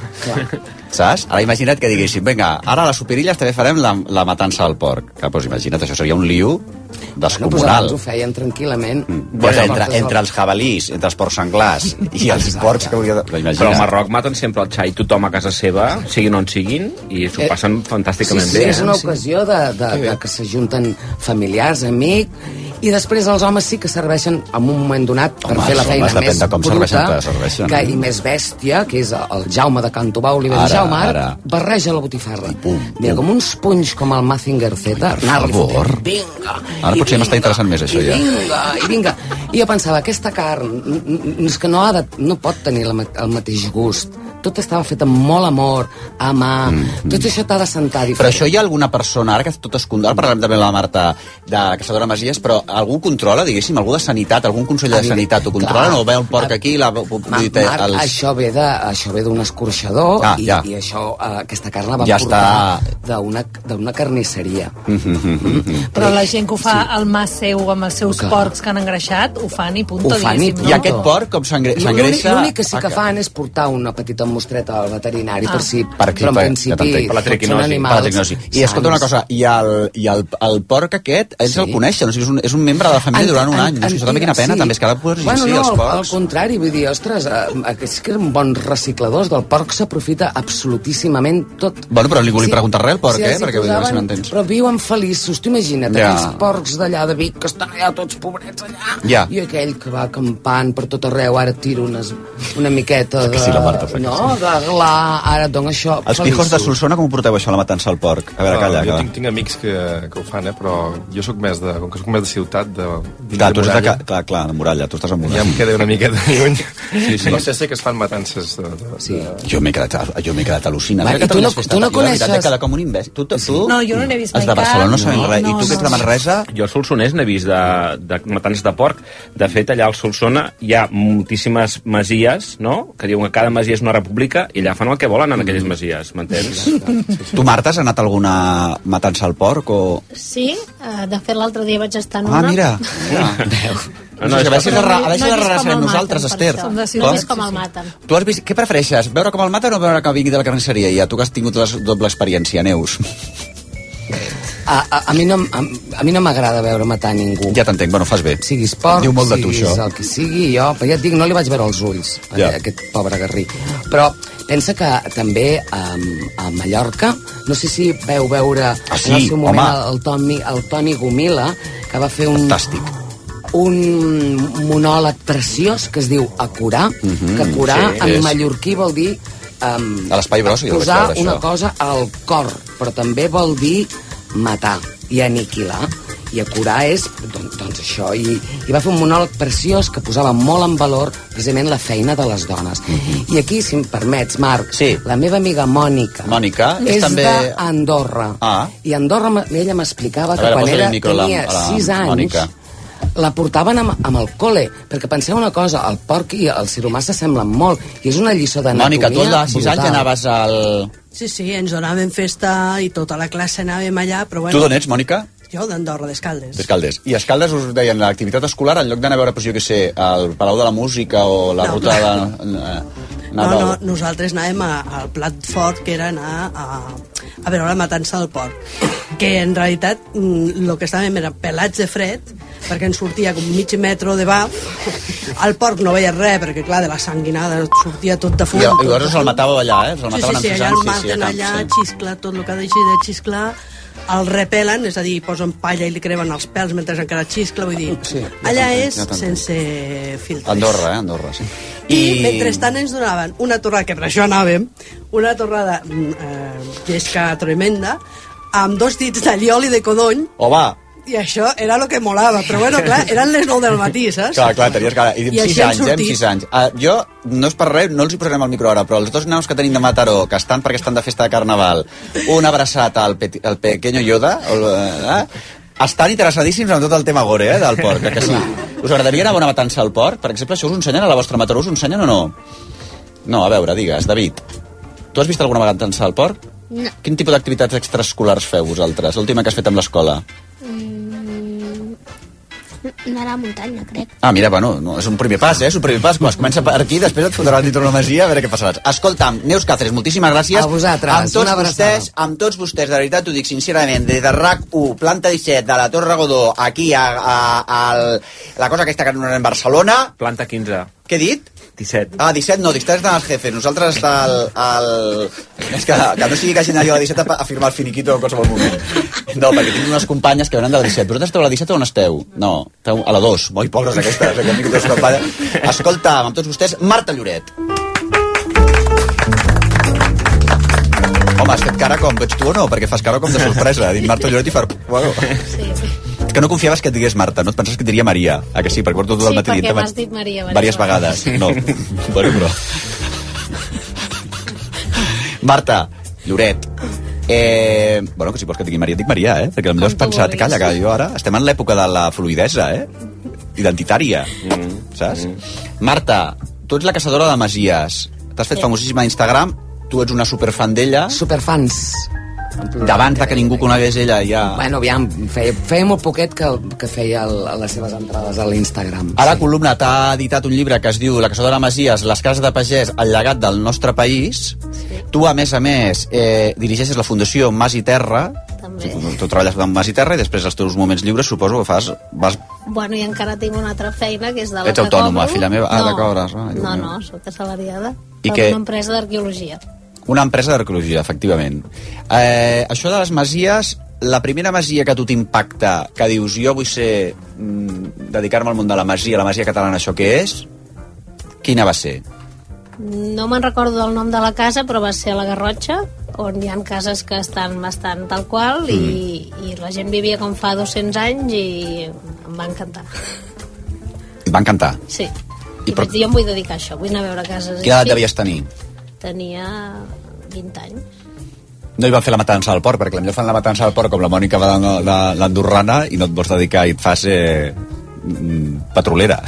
Speaker 14: saps? Ara imagina't que diguéssim, vinga, ara a les superilles també farem la, la matança al porc. Que, doncs imagina't, això seria un liu
Speaker 16: No, doncs abans
Speaker 14: descomunal.
Speaker 16: ho feien tranquil·lament.
Speaker 14: Ja sé, entre, entre els jabalís, entre els porcs senglars i els porcs que hauria de... Però
Speaker 15: Però al
Speaker 14: imagina't.
Speaker 15: Marroc maten sempre el xai, tothom a casa seva, siguin on siguin, i s'ho
Speaker 16: Eh,
Speaker 15: passen fantàsticament
Speaker 16: sí, sí,
Speaker 15: bé.
Speaker 16: és
Speaker 14: eh?
Speaker 16: una ocasió de, de, de que s'ajunten familiars, amics, i després els homes sí que serveixen en un moment donat per
Speaker 14: Home,
Speaker 16: fer la
Speaker 14: els
Speaker 16: feina
Speaker 14: homes depèn
Speaker 16: més
Speaker 14: de com serveixen,
Speaker 16: bruta
Speaker 14: que serveixen.
Speaker 16: que, i més bèstia, que és el Jaume de Cantobà, Oliver
Speaker 14: Ara,
Speaker 16: ara, Jaume, ara,
Speaker 14: ara.
Speaker 16: barreja la botifarra. Pum, Mira, com uns punys com el Mazinger Z, anar-li
Speaker 14: favor.
Speaker 16: fotent, Vinga!
Speaker 14: Ara
Speaker 16: i
Speaker 14: potser m'està
Speaker 16: vinga,
Speaker 14: interessant més això,
Speaker 16: i
Speaker 14: ja.
Speaker 16: Vinga, i vinga. I jo pensava, aquesta carn n- n- és que no, ha de, no pot tenir la, ma- el mateix gust. Tot estava fet amb molt amor, a mà... Mm. Tot això t'ha de sentar diferent.
Speaker 14: Però això hi ha alguna persona, ara que tot es controla, ara parlarem també amb la Marta de Caçadora Masies, però algú controla, diguéssim, algú de sanitat, algun conseller de
Speaker 16: Evident,
Speaker 14: sanitat ho controla,
Speaker 16: clar.
Speaker 14: no veu un porc aquí, la... Ma,
Speaker 16: Marc, Marc, això ve de- això ve d'un escorxador
Speaker 14: Ah,
Speaker 16: i,
Speaker 14: ja.
Speaker 16: i això, eh, aquesta carn la van
Speaker 14: Ja Mm-hmm,
Speaker 16: portar d'una d'una
Speaker 14: [LAUGHS]
Speaker 16: carnisseria. Mm?
Speaker 18: Però la gent que ho fa al mà seu amb els seus porcs que han engreixat, ho fan i punto, diguéssim, no?
Speaker 14: I aquest porc com s'engre- Ah,
Speaker 16: L'únic
Speaker 14: s'engreixa...
Speaker 16: l'únic que sí que fan és portar una petita mostreta al veterinari
Speaker 18: Ah.
Speaker 16: per si...
Speaker 14: Per aquí,
Speaker 16: però en
Speaker 14: per- ja
Speaker 16: principi
Speaker 14: t'entenc.
Speaker 16: són animals
Speaker 14: Per la triquinosi. I escolta una
Speaker 16: sans.
Speaker 14: cosa, i el, i el, el porc aquest, ells sí. el coneixen, o sigui, és, un, és un membre de la família
Speaker 16: Ant-
Speaker 14: durant un
Speaker 16: ant-
Speaker 14: any. No sé, això
Speaker 16: antiga-
Speaker 14: també quina pena,
Speaker 16: sí.
Speaker 14: també és que ara pots
Speaker 16: bueno,
Speaker 14: sí,
Speaker 16: no,
Speaker 14: els
Speaker 16: al-
Speaker 14: porcs...
Speaker 16: Al contrari, vull dir, ostres, eh, aquests que eren bons recicladors del porc s'aprofita absolutíssimament tot.
Speaker 14: Bueno, però li volia preguntar res al porc, eh,
Speaker 16: els hi
Speaker 14: perquè vull dir, a veure si m'entens.
Speaker 16: Però viuen feliços, tu imagina't,
Speaker 14: Ja.
Speaker 16: ja. aquells porcs d'allà de Vic que estan allà tots pobrets allà,
Speaker 14: Ja.
Speaker 16: i aquell que va acampant per tot arreu, ara tira unes, una miqueta de...
Speaker 14: sí, la Marta fa que
Speaker 16: no, de gla, ara et dono això,
Speaker 14: Els pijos de Solsona com ho porteu això, la matança al porc? A veure, calla,
Speaker 19: jo
Speaker 14: calla.
Speaker 19: tinc, tinc amics que, que ho fan, eh? però jo sóc més de, com que sóc més de ciutat, de, dins
Speaker 14: Clar, tu
Speaker 19: de
Speaker 14: ets de,
Speaker 19: muralla,
Speaker 14: ca- clar, clar, de muralla, tu estàs a muralla.
Speaker 19: ja em queda una miqueta lluny. Sí, sí. No sé, sé que es fan matances de... de, sí. de...
Speaker 14: Jo m'he quedat, jo m'he quedat al·lucinat.
Speaker 19: Va,
Speaker 14: Ara
Speaker 19: i tu
Speaker 14: Catalunya
Speaker 19: no-
Speaker 14: és festa,
Speaker 19: tu no
Speaker 14: jo la veritat
Speaker 19: coneixes-
Speaker 14: és que la com un imbècil. Tu, tu, tu,
Speaker 18: No, jo no n'he vist
Speaker 14: Els de
Speaker 18: mai
Speaker 14: Barcelona no
Speaker 18: cap.
Speaker 14: saben res. I tu que ets de Manresa...
Speaker 15: Jo al Solsonès n'he vist de, de matans de porc. De fet, allà al Solsona hi ha moltíssimes masies, no?, que diuen que cada masia és una república i allà fan el que volen en aquelles
Speaker 14: Mm.
Speaker 15: masies, m'entens?
Speaker 14: Tu, Marta, has anat a alguna matança al porc o...
Speaker 21: Sí, eh, de fet l'altre dia vaig estar en
Speaker 14: Ah,
Speaker 21: una...
Speaker 14: mira, mira. No, no, a veure si és a veure si és rara ser nosaltres, Esther.
Speaker 21: No
Speaker 14: Com?
Speaker 21: he vist com el maten.
Speaker 14: Tu has vist... Què prefereixes? Veure com el maten o veure que vingui de la carnisseria? Ja, tu que has tingut la doble experiència, Neus.
Speaker 16: A, a, a mi no, m- a, a mi no m'agrada veure matar ningú.
Speaker 14: Ja t'entenc, bueno, fas bé.
Speaker 16: Siguis porc,
Speaker 14: Diu molt de tu,
Speaker 16: siguis
Speaker 14: això.
Speaker 16: el que sigui, jo, però ja et dic, no li vaig veure els ulls,
Speaker 14: Ja.
Speaker 16: ja. aquest pobre garrí. Però pensa que també um, a Mallorca, no sé si veu veure
Speaker 14: Ah, sí,
Speaker 16: en el seu moment
Speaker 14: home.
Speaker 16: el, Toni, el Toni Gomila, que va fer un,
Speaker 14: Fantàstic.
Speaker 16: un monòleg preciós que es diu Acurar,
Speaker 14: Mhm,
Speaker 16: que curar
Speaker 14: sí,
Speaker 16: sí, en
Speaker 14: és.
Speaker 16: mallorquí vol dir um,
Speaker 14: A l'espai gros, jo vaig
Speaker 16: posar
Speaker 14: veure això.
Speaker 16: una cosa al cor, però també vol dir matar i aniquilar i acurar és, doncs, doncs això i, i va fer un monòleg preciós que posava molt en valor precisament la feina de les dones
Speaker 14: Mhm.
Speaker 16: i aquí, si em permets, Marc sí. la meva amiga Mònica
Speaker 14: Mònica, és
Speaker 16: és
Speaker 14: també-
Speaker 16: d'Andorra
Speaker 14: Ah.
Speaker 16: i a Andorra m- ella m'explicava
Speaker 14: A
Speaker 16: que
Speaker 14: veure,
Speaker 16: quan
Speaker 14: posa-li
Speaker 16: era,
Speaker 14: el micro a la-
Speaker 16: tenia
Speaker 14: a la
Speaker 16: 6 anys
Speaker 14: Mònica.
Speaker 16: la portaven amb, amb el cole, perquè penseu una cosa, el porc i el ciromà s'assemblen molt, i és una lliçó d'anatomia
Speaker 14: Mònica, tu als 6 anys
Speaker 16: brutal.
Speaker 14: anaves al...
Speaker 22: Sí, sí, ens donaven festa i tota la classe anàvem allà, però bueno...
Speaker 14: Tu d'on ets, Mònica?
Speaker 1: Jo d'Andorra, d'Escaldes.
Speaker 14: Escaldes. I a Escaldes us deien l'activitat escolar, en lloc d'anar a veure, pues, jo què sé, al Palau de la Música o la
Speaker 1: No.
Speaker 14: ruta de... eh,
Speaker 1: No,
Speaker 14: Anar
Speaker 1: no,
Speaker 14: pel-
Speaker 1: nosaltres anàvem a, al plat fort, que era anar a, a veure la matança del porc. Que en realitat el que estàvem era pelats de fred, perquè ens sortia com mig metro de baf. El porc no veia res, perquè clar, de la sanguinada sortia tot de fum.
Speaker 14: I, I llavors us el matàveu allà, eh? Us el
Speaker 1: Sí, sí,
Speaker 14: mataven
Speaker 1: sí,
Speaker 14: amb
Speaker 1: allà el
Speaker 14: fusant,
Speaker 1: maten
Speaker 14: a camp,
Speaker 1: allà, xiscla tot el que deixi de xisclar, el repelen, és a dir, posen palla i li cremen els pèls mentre encara xiscla, vull dir, sí, allà
Speaker 14: t'entenc,
Speaker 1: és
Speaker 14: ja t'entenc.
Speaker 1: sense filtres.
Speaker 14: Andorra, eh? Andorra, sí.
Speaker 1: I, I mentrestant ens donaven una torrada, que per això anàvem, una torrada mm, eh, llesca tremenda, amb dos dits d'allioli de codony,
Speaker 14: O va,
Speaker 1: i això era el que molava. Però bueno, clar, eren les 9 del matí, saps?
Speaker 14: clar, clar, tenies cara. I,
Speaker 1: I així
Speaker 14: 6
Speaker 1: han
Speaker 14: anys, eh?
Speaker 1: sortit.
Speaker 14: 6 anys. Uh, jo, no és per res, no els hi posarem al micro ara, però els dos nanos que tenim de Mataró, que estan perquè estan de festa de carnaval, un abraçat al, peti, al pequeño Yoda, o, eh? estan interessadíssims en tot el tema gore, eh, del porc, que
Speaker 1: [LAUGHS]
Speaker 14: sí. Us agradaria anar a una matança al porc? Per exemple, això us ho ensenyen a la vostra Mataró, us ho ensenyen o no? No, a veure, digues, David. Tu has vist alguna matança al porc?
Speaker 22: No.
Speaker 14: Quin tipus d'activitats extraescolars feu vosaltres? L'última que has fet amb l'escola?
Speaker 20: Mm, anar a la muntanya, crec.
Speaker 14: Ah, mira, bueno, no, és un primer pas, eh? És un primer pas. Quan es comença per aquí, després et fotran dintre una masia a veure què passarà. Escolta'm, Neus Cáceres, moltíssimes gràcies.
Speaker 16: A vosaltres,
Speaker 14: Amb tots
Speaker 16: una abraçada.
Speaker 14: vostès, amb tots vostès, de veritat, t'ho dic sincerament, des de RAC1, planta 17, de la Torre Godó, aquí, a, a, a, al- la cosa aquesta que anomenen Barcelona...
Speaker 15: Planta 15.
Speaker 14: Què he dit?
Speaker 15: 17.
Speaker 14: Ah, 17 no, 17 estan els jefes. Nosaltres està el... el... És que, que no sigui que hagin d'arribar a la 17 a, a firmar el finiquito en qualsevol moment. No, perquè tinc unes companyes que venen de la 17. Vosaltres esteu a la 17 o on esteu? No, esteu a la 2. Molt pobres aquestes, aquestes companyes. Escolta, amb tots vostès, Marta Lloret. Home, has fet cara com, ets tu o no? Perquè fas cara com de sorpresa. Dic Marta Lloret i far... Bueno.
Speaker 21: Sí,
Speaker 14: És que no confiaves que et digués Marta, no et penses que et diria Maria. A que sí, perquè porto tot el
Speaker 21: sí
Speaker 14: matí
Speaker 21: perquè
Speaker 14: dient-te
Speaker 21: m'has dit Maria.
Speaker 14: Vàries vegades. No. bueno, però... Marta, Lloret, Eh, bueno, que si vols que et digui Maria, et dic Maria, eh? Perquè potser has pensat, calla, que jo ara estem en l'època de la fluidesa, eh? Identitària, saps? Marta, tu ets la caçadora de Masies. T'has fet
Speaker 16: Sí.
Speaker 14: famosíssima a Instagram, tu ets una superfan d'ella.
Speaker 16: Superfans.
Speaker 14: D'abans de que ningú conegués ella, ja...
Speaker 16: Bueno, aviam, feia, feia molt poquet que, que feia el, les seves entrades a l'Instagram.
Speaker 14: Ara Columna t'ha editat un llibre que es diu La caçadora de Masies, les cases de pagès, el llegat del nostre país. Tu, a més a més, eh, dirigeixes la Fundació Mas i Terra. També. Tu treballes amb Mas i Terra i després els teus moments lliures suposo que fas... Vas,
Speaker 21: Bueno, i encara tinc una altra feina, que és de la
Speaker 14: ets
Speaker 21: que
Speaker 14: autònoma,
Speaker 21: cobro.
Speaker 14: filla meva. Ah,
Speaker 21: No,
Speaker 14: de cobres. Ah, Déu
Speaker 21: no,
Speaker 14: meu.
Speaker 21: no, sóc assalariada.
Speaker 14: I
Speaker 21: I
Speaker 14: què?
Speaker 21: que... una empresa d'arqueologia.
Speaker 14: Una empresa d'arqueologia, efectivament. Eh, això de les masies, la primera masia que a tu t'impacta, que dius jo vull ser... Mm, dedicar-me al món de la masia, la masia catalana, això què és? Quina va ser?
Speaker 21: No me'n recordo del nom de la casa, però va ser a la Garrotxa, on hi ha cases que estan bastant tal qual i,
Speaker 14: Mm.
Speaker 21: i la gent vivia com fa 200 anys i em va encantar.
Speaker 14: Et va encantar.
Speaker 21: Sí.
Speaker 14: I
Speaker 21: I,
Speaker 14: per-
Speaker 21: vaig dir, jo em vull dedicar a això, vull anar a veure cases.
Speaker 14: Quina edat
Speaker 21: així".
Speaker 14: devies tenir?
Speaker 21: Tenia 20 anys.
Speaker 14: No hi van fer la matança del porc, perquè potser fan la matança del porc com la Mònica va de la- l'Andorrana i no et vols dedicar i et fas eh, mm, petrolera.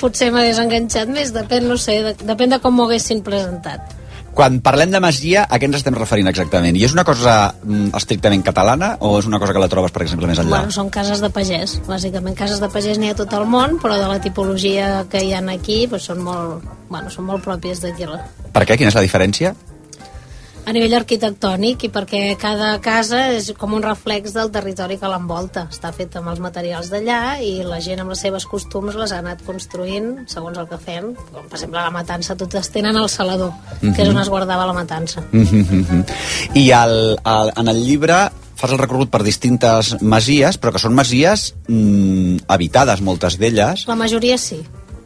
Speaker 21: Potser m'hagués enganxat més, depèn, no sé, de, depèn de com m'ho haguessin presentat.
Speaker 14: Quan parlem de masia, a què ens estem referint exactament? I és una cosa mm, estrictament catalana o és una cosa que la trobes, per exemple, més enllà?
Speaker 21: Bueno, són cases de pagès, bàsicament. Cases de pagès n'hi ha a tot el món, però de la tipologia que hi ha aquí doncs són, molt, bueno, són molt pròpies d'aquí. a la-
Speaker 14: Per què? Quina és la diferència? [LAUGHS]
Speaker 21: A nivell arquitectònic i perquè cada casa és com un reflex del territori que l'envolta. Està fet amb els materials d'allà i la gent amb les seves costums les ha anat construint segons el que fem. Com, per exemple, a la matança, totes tenen el salador, que és on
Speaker 14: Mhm.
Speaker 21: es guardava la matança.
Speaker 14: Mhm, mhm. I el, el, en el llibre fas el recorregut per distintes masies, però que són masies mm, habitades, moltes d'elles.
Speaker 21: La majoria sí.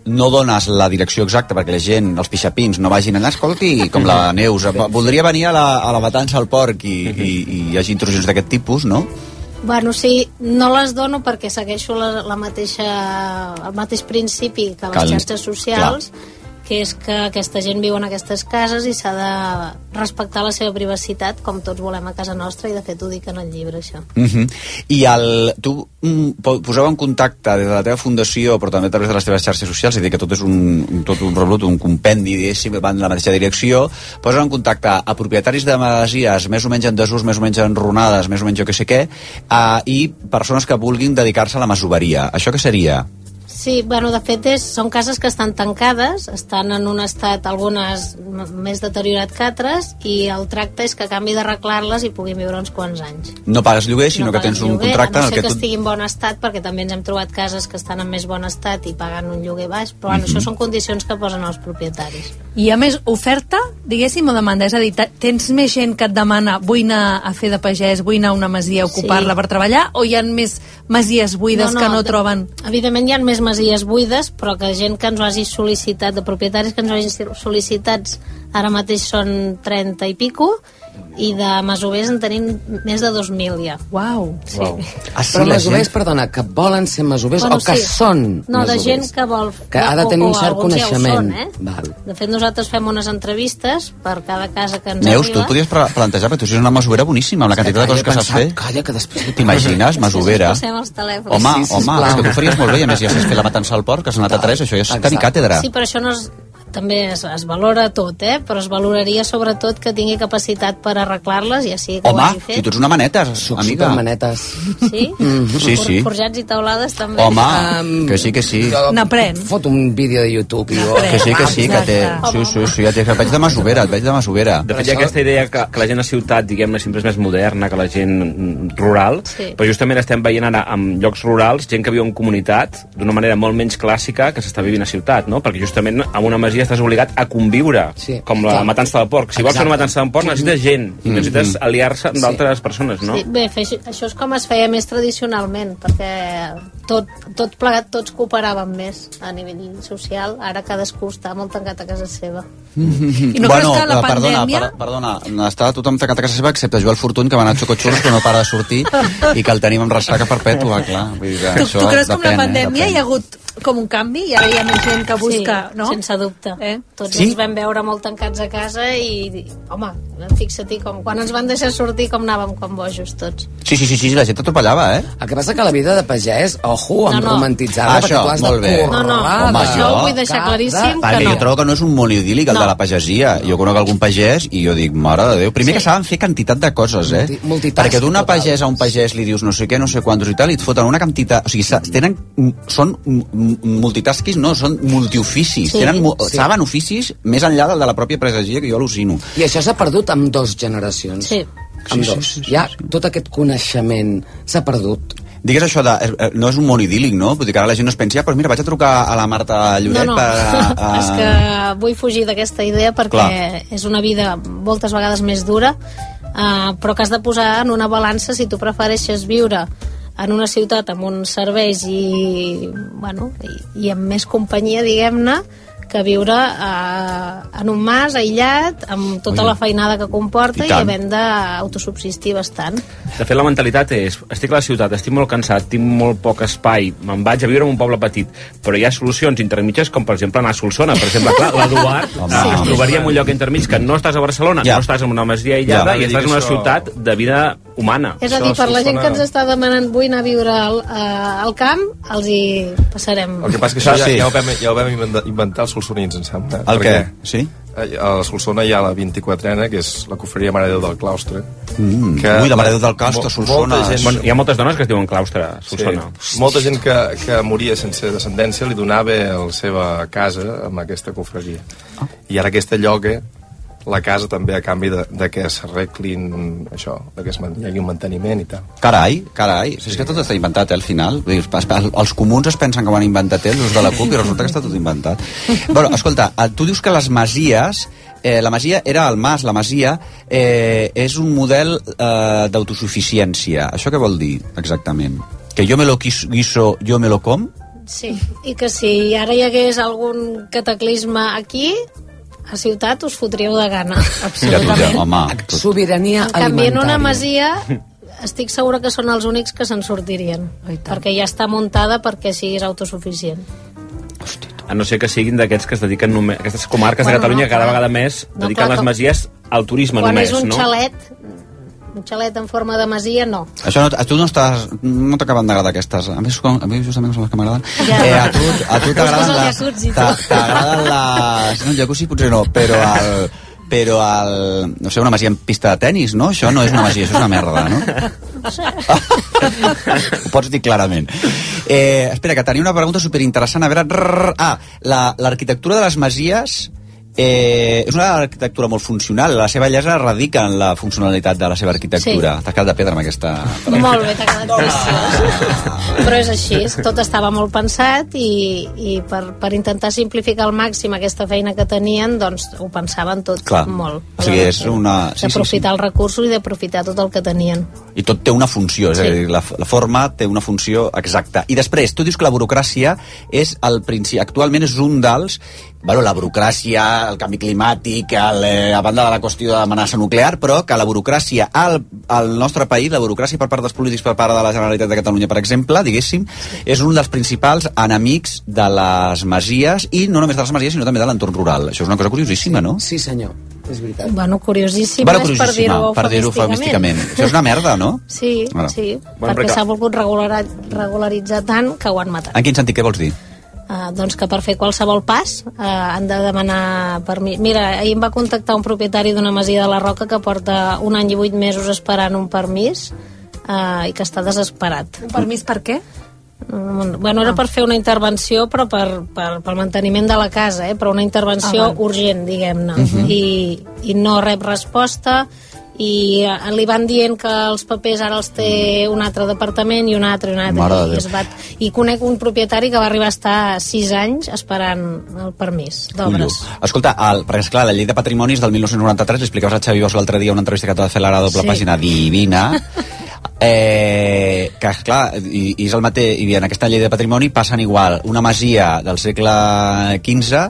Speaker 14: no dones la direcció exacta perquè la gent, els pixapins, no vagin allà, escolti, com la Neus, eh, voldria venir a la, a la matança al porc i, i, i hi hagi intrusions d'aquest tipus, no?
Speaker 21: Bueno, sí, no les dono perquè segueixo la, la mateixa, el mateix principi que les
Speaker 14: Cal-
Speaker 21: xarxes socials que és que aquesta gent viu en aquestes cases i s'ha de respectar la seva privacitat com tots volem a casa nostra i de fet ho dic en el llibre això.
Speaker 14: Uh -huh. I el, tu mm, po- poseu en contacte des de la teva fundació, però també a través de les teves xarxes socials, és a dir, que tot és un, tot un rebrot, un compendi, diguéssim, van en la mateixa direcció, poseu en contacte a propietaris de masies més o menys en desús, més o menys enronades, més o menys jo que sé què, uh, i persones que vulguin dedicar-se a la masoveria. Això què seria?
Speaker 21: Sí, bueno, de fet és, són cases que estan tancades, estan en un estat algunes m- més deteriorat que altres i el tracte és que a canvi d'arreglar-les hi puguin viure uns quants anys.
Speaker 14: No pagues lloguer, sinó que
Speaker 21: pagues
Speaker 14: tens un
Speaker 21: lloguer,
Speaker 14: contracte
Speaker 21: a
Speaker 14: en
Speaker 21: no
Speaker 14: el
Speaker 21: ser
Speaker 14: que
Speaker 21: que
Speaker 14: tu...
Speaker 21: estigui en bon estat, perquè també ens hem trobat cases que estan en més bon estat i pagant un lloguer baix, però bueno,
Speaker 14: Mhm.
Speaker 21: això són condicions que posen els propietaris.
Speaker 18: I a més, oferta, diguéssim, o demanda. És a dir, te- tens més gent que et demana vull anar a fer de pagès, vull anar a una masia a ocupar-la
Speaker 21: Sí.
Speaker 18: per treballar, o hi ha més masies buides que no
Speaker 21: de-
Speaker 18: troben...
Speaker 21: Evidentment hi ha més masies buides, però que gent que ens ho hagi sol·licitat, de propietaris que ens ho hagin sol·licitats, ara mateix són 30 i pico, i de masovers en tenim més de 2.000 ja.
Speaker 18: Uau!
Speaker 21: Sí.
Speaker 16: Uau.
Speaker 14: Ah,
Speaker 16: sí, Però
Speaker 21: la
Speaker 16: masovers, gent... perdona, que volen ser masovers bueno, o que sí. són
Speaker 21: No, de
Speaker 16: masovers.
Speaker 21: gent que vol...
Speaker 16: Que ha de
Speaker 21: o-
Speaker 16: tenir
Speaker 21: o
Speaker 16: un cert
Speaker 21: alguns ja ho
Speaker 16: coneixement.
Speaker 21: són, eh?
Speaker 16: Val.
Speaker 21: De fet, nosaltres fem unes entrevistes per cada casa que ens
Speaker 14: Neus, tu
Speaker 21: arriba.
Speaker 14: et podries pre- plantejar, perquè tu és una masovera boníssima, amb la quantitat de coses que saps
Speaker 16: pensat,
Speaker 14: fer.
Speaker 16: Calla, que després...
Speaker 14: T'imagines, masovera?
Speaker 21: Passem els telèfons.
Speaker 14: Home,
Speaker 16: Sí,
Speaker 14: sí, home,
Speaker 16: sisplau.
Speaker 14: és que tu faries molt bé, i a més ja saps fer la matança al porc, que has anat a tres, això ja és tenir càtedra.
Speaker 21: Sí, però això no és, també es, es valora tot, eh? però es valoraria sobretot que tingui capacitat per arreglar-les, ja sigui que ho
Speaker 14: Home,
Speaker 21: hagi fet.
Speaker 14: si tu ets una maneta, amiga. Mm-hmm.
Speaker 16: supermanetes.
Speaker 21: Sí?
Speaker 16: Mhm.
Speaker 14: [LAUGHS] Sí,
Speaker 21: For-
Speaker 14: sí.
Speaker 21: Forjats i taulades també. Ah,
Speaker 14: Home,
Speaker 16: Ah,
Speaker 14: que sí, que sí.
Speaker 18: N'aprèn.
Speaker 16: Fot un vídeo de YouTube i jo...
Speaker 14: Que sí, que sí, que té... Sí, sí, sí, ja té... Et veig de masovera, et veig de masovera.
Speaker 15: De fet, hi ha aquesta idea que, que la gent a ciutat, diguem-ne, sempre és més moderna que la gent mm, rural,
Speaker 2: Sí.
Speaker 15: sí. però justament estem veient ara en llocs rurals gent que viu en comunitat d'una manera molt menys clàssica que s'està vivint a ciutat, no? Perquè justament en una masia estàs obligat a conviure, sí. Mm-hmm. com la
Speaker 21: Clar.
Speaker 15: matança del porc. Si vols fer
Speaker 21: Exacte.
Speaker 15: una matança del porc necessites gent, i necessites aliar-se amb d'altres persones, no?
Speaker 21: Sí, bé, fer, així- això és com es feia més tradicionalment, perquè tot, tot plegat tots cooperàvem més a nivell social. Ara cadascú està molt tancat a casa seva.
Speaker 14: I bueno,
Speaker 21: no creus que la
Speaker 14: eh, perdona,
Speaker 21: pandèmia-
Speaker 14: per- perdona, està tothom tancat a casa seva excepte Joel Fortuny, que va anar a Xocotxurros, que no para de sortir, i que el tenim amb ressaca perpètua, clar. Vull dir que
Speaker 18: Tu,
Speaker 14: això
Speaker 18: tu creus que amb la
Speaker 14: depèn, eh,
Speaker 18: pandèmia hi ha hagut com un canvi? I ara hi ha més gent que busca,
Speaker 21: sí,
Speaker 18: no?
Speaker 21: sense dubte.
Speaker 18: Eh?
Speaker 21: Tots
Speaker 14: Sí?
Speaker 21: sí? ens vam veure molt tancats a casa i, home, fixa-t'hi com... Quan ens van deixar sortir, com anàvem com bojos tots.
Speaker 14: Sí, sí, sí, sí, la gent t'atropellava, eh?
Speaker 16: El que passa que la vida de pagès, ojo,
Speaker 21: No,
Speaker 16: amb no,
Speaker 21: no.
Speaker 16: no. romantitzar-la, perquè
Speaker 14: Això,
Speaker 16: tu has de
Speaker 14: molt bé.
Speaker 16: currar.
Speaker 21: No, no,
Speaker 14: Home,
Speaker 21: això
Speaker 14: jo-
Speaker 21: ho vull deixar claríssim
Speaker 14: Perquè
Speaker 21: que
Speaker 14: no.
Speaker 21: no.
Speaker 14: jo trobo que no és un món idíl·lic el de la pagesia. Jo conec algun pagès i jo dic, mare de Déu. Primer sí. que saben fer quantitat de coses, eh? Multi Perquè d'una pagès a un pagès li dius no sé què, no sé quantos i tal, i et foten una quantitat... O sigui, sa- tenen, són m- m- multitasquis, no, són multioficis.
Speaker 16: Sí,
Speaker 14: Sí. Tenen, mu-
Speaker 16: sí.
Speaker 14: Saben oficis més enllà del de la pròpia pagesia, que jo al·lucino.
Speaker 16: I això s'ha perdut amb dos generacions.
Speaker 21: Sí.
Speaker 16: Amb
Speaker 14: Sí, sí,
Speaker 16: dos. ja tot aquest coneixement s'ha perdut.
Speaker 14: Digues això de... eh, eh, No és un món idíl·lic, no? Vull dir que ara la gent es pensi, ah, doncs mira, vaig a trucar a la Marta Lloret
Speaker 21: no, no.
Speaker 14: per... A,
Speaker 21: [LAUGHS]
Speaker 14: a...
Speaker 21: és que vull fugir d'aquesta idea perquè
Speaker 14: Clar.
Speaker 21: és una vida moltes vegades més dura, eh, però que has de posar en una balança si tu prefereixes viure en una ciutat amb uns serveis i, bueno, i, i amb més companyia, diguem-ne, que viure eh, en un mas aïllat, amb tota
Speaker 15: Ui.
Speaker 21: la feinada que comporta
Speaker 15: I
Speaker 21: i,
Speaker 15: tant.
Speaker 21: havent d'autosubsistir bastant.
Speaker 15: De fet, la mentalitat és, estic a la ciutat, estic molt cansat, tinc molt poc espai, me'n vaig a viure en un poble petit, però hi ha solucions intermitges com, per exemple, anar a Solsona. Per exemple, clar, l'Eduard
Speaker 14: Home.
Speaker 15: sí. es
Speaker 14: Sí.
Speaker 15: trobaria en un lloc intermig que no estàs a Barcelona,
Speaker 14: Ja.
Speaker 15: ja. no estàs en una masia aïllada
Speaker 14: Ja.
Speaker 15: ja. i estàs en una
Speaker 14: Això-
Speaker 15: ciutat de vida humana.
Speaker 21: És a dir, per la gent que ens està demanant vull anar a viure al, eh, al camp, els hi passarem.
Speaker 19: El que passa és que això ja,
Speaker 14: Ah, Sí.
Speaker 19: ja, ho vam, ja ho vam inventa- inventar els solsonins, em sembla.
Speaker 14: El
Speaker 19: Perquè,
Speaker 14: què? Sí?
Speaker 19: eh, A la Solsona hi ha la 24ena, que és la cofreria Mare de Déu del Claustre.
Speaker 14: Mm.
Speaker 19: Que-
Speaker 14: Ui, la Mare de Déu del Claustre,
Speaker 19: Mo-
Speaker 14: Solsona.
Speaker 19: molta gent-
Speaker 15: Bueno, hi ha moltes dones que es diuen claustre, a Solsona.
Speaker 19: Sí. Molta gent que, que moria sense descendència li donava la seva casa amb aquesta cofreria.
Speaker 14: Ah.
Speaker 19: I ara aquesta lloga la casa també a canvi de, de que s'arreglin això, de que es man- hi hagi un manteniment i tal.
Speaker 14: Carai, carai, si és que tot està inventat, eh, al final. Vull dir, es- es- Els comuns es pensen que ho han inventat ells, els de la CUP, i resulta que està tot inventat. Bueno, escolta, eh, tu dius que les masies, eh, la masia era el mas, la masia, eh, és un model eh, d'autosuficiència. Això què vol dir, exactament? Que jo me lo quis- guiso, jo me lo com?
Speaker 21: Sí, i que si ara hi hagués algun cataclisme aquí, a ciutat us fotríeu de gana, absolutament.
Speaker 14: home,
Speaker 16: Sobirania
Speaker 21: en canvi, en una
Speaker 16: alimentària.
Speaker 21: masia estic segura que són els únics que se'n sortirien, perquè ja està muntada perquè siguis autosuficient.
Speaker 15: a no ser que siguin d'aquests que es dediquen només... Aquestes comarques
Speaker 21: Bueno,
Speaker 15: de Catalunya
Speaker 21: no,
Speaker 15: que cada
Speaker 21: clar.
Speaker 15: vegada més
Speaker 21: No,
Speaker 15: dediquen
Speaker 21: clar,
Speaker 15: les
Speaker 21: com-
Speaker 15: masies al turisme
Speaker 21: Quan
Speaker 15: només,
Speaker 21: és un
Speaker 15: no?
Speaker 21: xalet, un xalet en forma de masia, no.
Speaker 14: Això no, a tu no estàs... No t'acaben d'agradar aquestes. A mi, com- a mi justament són les que m'agraden. Eh, a tu, a tu t'agraden les... t'a- T'agraden les... No, el jacuzzi potser no, però el però el, no sé, una masia amb pista de tennis, no? Això no és una masia, això és una merda, no? Ho pots dir clarament. Eh, espera, que tenia una pregunta superinteressant. A veure... rrr, Ah, la- l'arquitectura de les masies eh, és una arquitectura molt funcional. La seva bellesa radica en la funcionalitat de la seva arquitectura.
Speaker 21: Sí.
Speaker 14: T'has quedat de pedra amb aquesta...
Speaker 21: Molt bé, t'ha quedat preciós. Però és així, tot estava molt pensat i, i per, per intentar simplificar al màxim aquesta feina que tenien, doncs ho pensaven tot
Speaker 14: Clar.
Speaker 21: molt.
Speaker 14: O sigui, és una... Sí, sí, sí.
Speaker 21: D'aprofitar els recursos i d'aprofitar tot el que tenien.
Speaker 14: I tot té una funció, és
Speaker 21: Sí.
Speaker 14: a dir, la, la forma té una funció exacta. I després, tu dius que la burocràcia és el principi, actualment és un dels... Bueno, la burocràcia, el canvi climàtic, el, eh, a banda de la qüestió de l'amenaça nuclear, però que la burocràcia al, al nostre país, la burocràcia per part dels polítics, per part de la Generalitat de Catalunya, per exemple, diguéssim, és un dels principals enemics de les masies, i no només de les masies, sinó també de l'entorn rural. Això és una cosa curiosíssima, no?
Speaker 16: Sí, senyor, és veritat.
Speaker 21: Bueno, curiosíssim,
Speaker 14: Bueno,
Speaker 21: és per
Speaker 14: curiosíssima,
Speaker 21: dir-ho
Speaker 14: per dir-ho eufemísticament. Això és una merda, no?
Speaker 21: Sí,
Speaker 14: Ara.
Speaker 21: sí,
Speaker 14: Bueno,
Speaker 21: perquè
Speaker 14: Reca.
Speaker 21: s'ha volgut regularitzar, regularitzar tant que ho han matat.
Speaker 14: En quin sentit, què vols dir?
Speaker 21: Uh, doncs que per fer qualsevol pas uh, han de demanar permís. Mira, ahir em va contactar un propietari d'una masia de la Roca que porta un any i vuit mesos esperant un permís uh, i que està desesperat. Un
Speaker 18: permís per què? Ah.
Speaker 21: Mm, Bueno, era per fer una intervenció, però per, per, pel manteniment de la casa, eh? però una
Speaker 18: Ah,
Speaker 21: intervenció
Speaker 18: val.
Speaker 21: urgent, diguem-ne.
Speaker 18: Mhm.
Speaker 21: I, I no rep resposta i eh, li van dient que els papers ara els té un altre departament i un altre, i un
Speaker 14: Mm. Mare de
Speaker 21: altre.
Speaker 14: Déu.
Speaker 21: I, es va, I conec un propietari que va arribar a estar 6 anys esperant el permís d'obres.
Speaker 14: Ullo. Escolta, el, perquè esclar, la llei de patrimonis del 1993, l'explicaves a Xavi Bosch l'altre dia en una entrevista que t'ha de fer l'ara doble
Speaker 21: Sí.
Speaker 14: sí. pàgina divina, eh, que esclar, i, i és el mateix, i en aquesta llei de patrimoni passen igual una masia del segle XV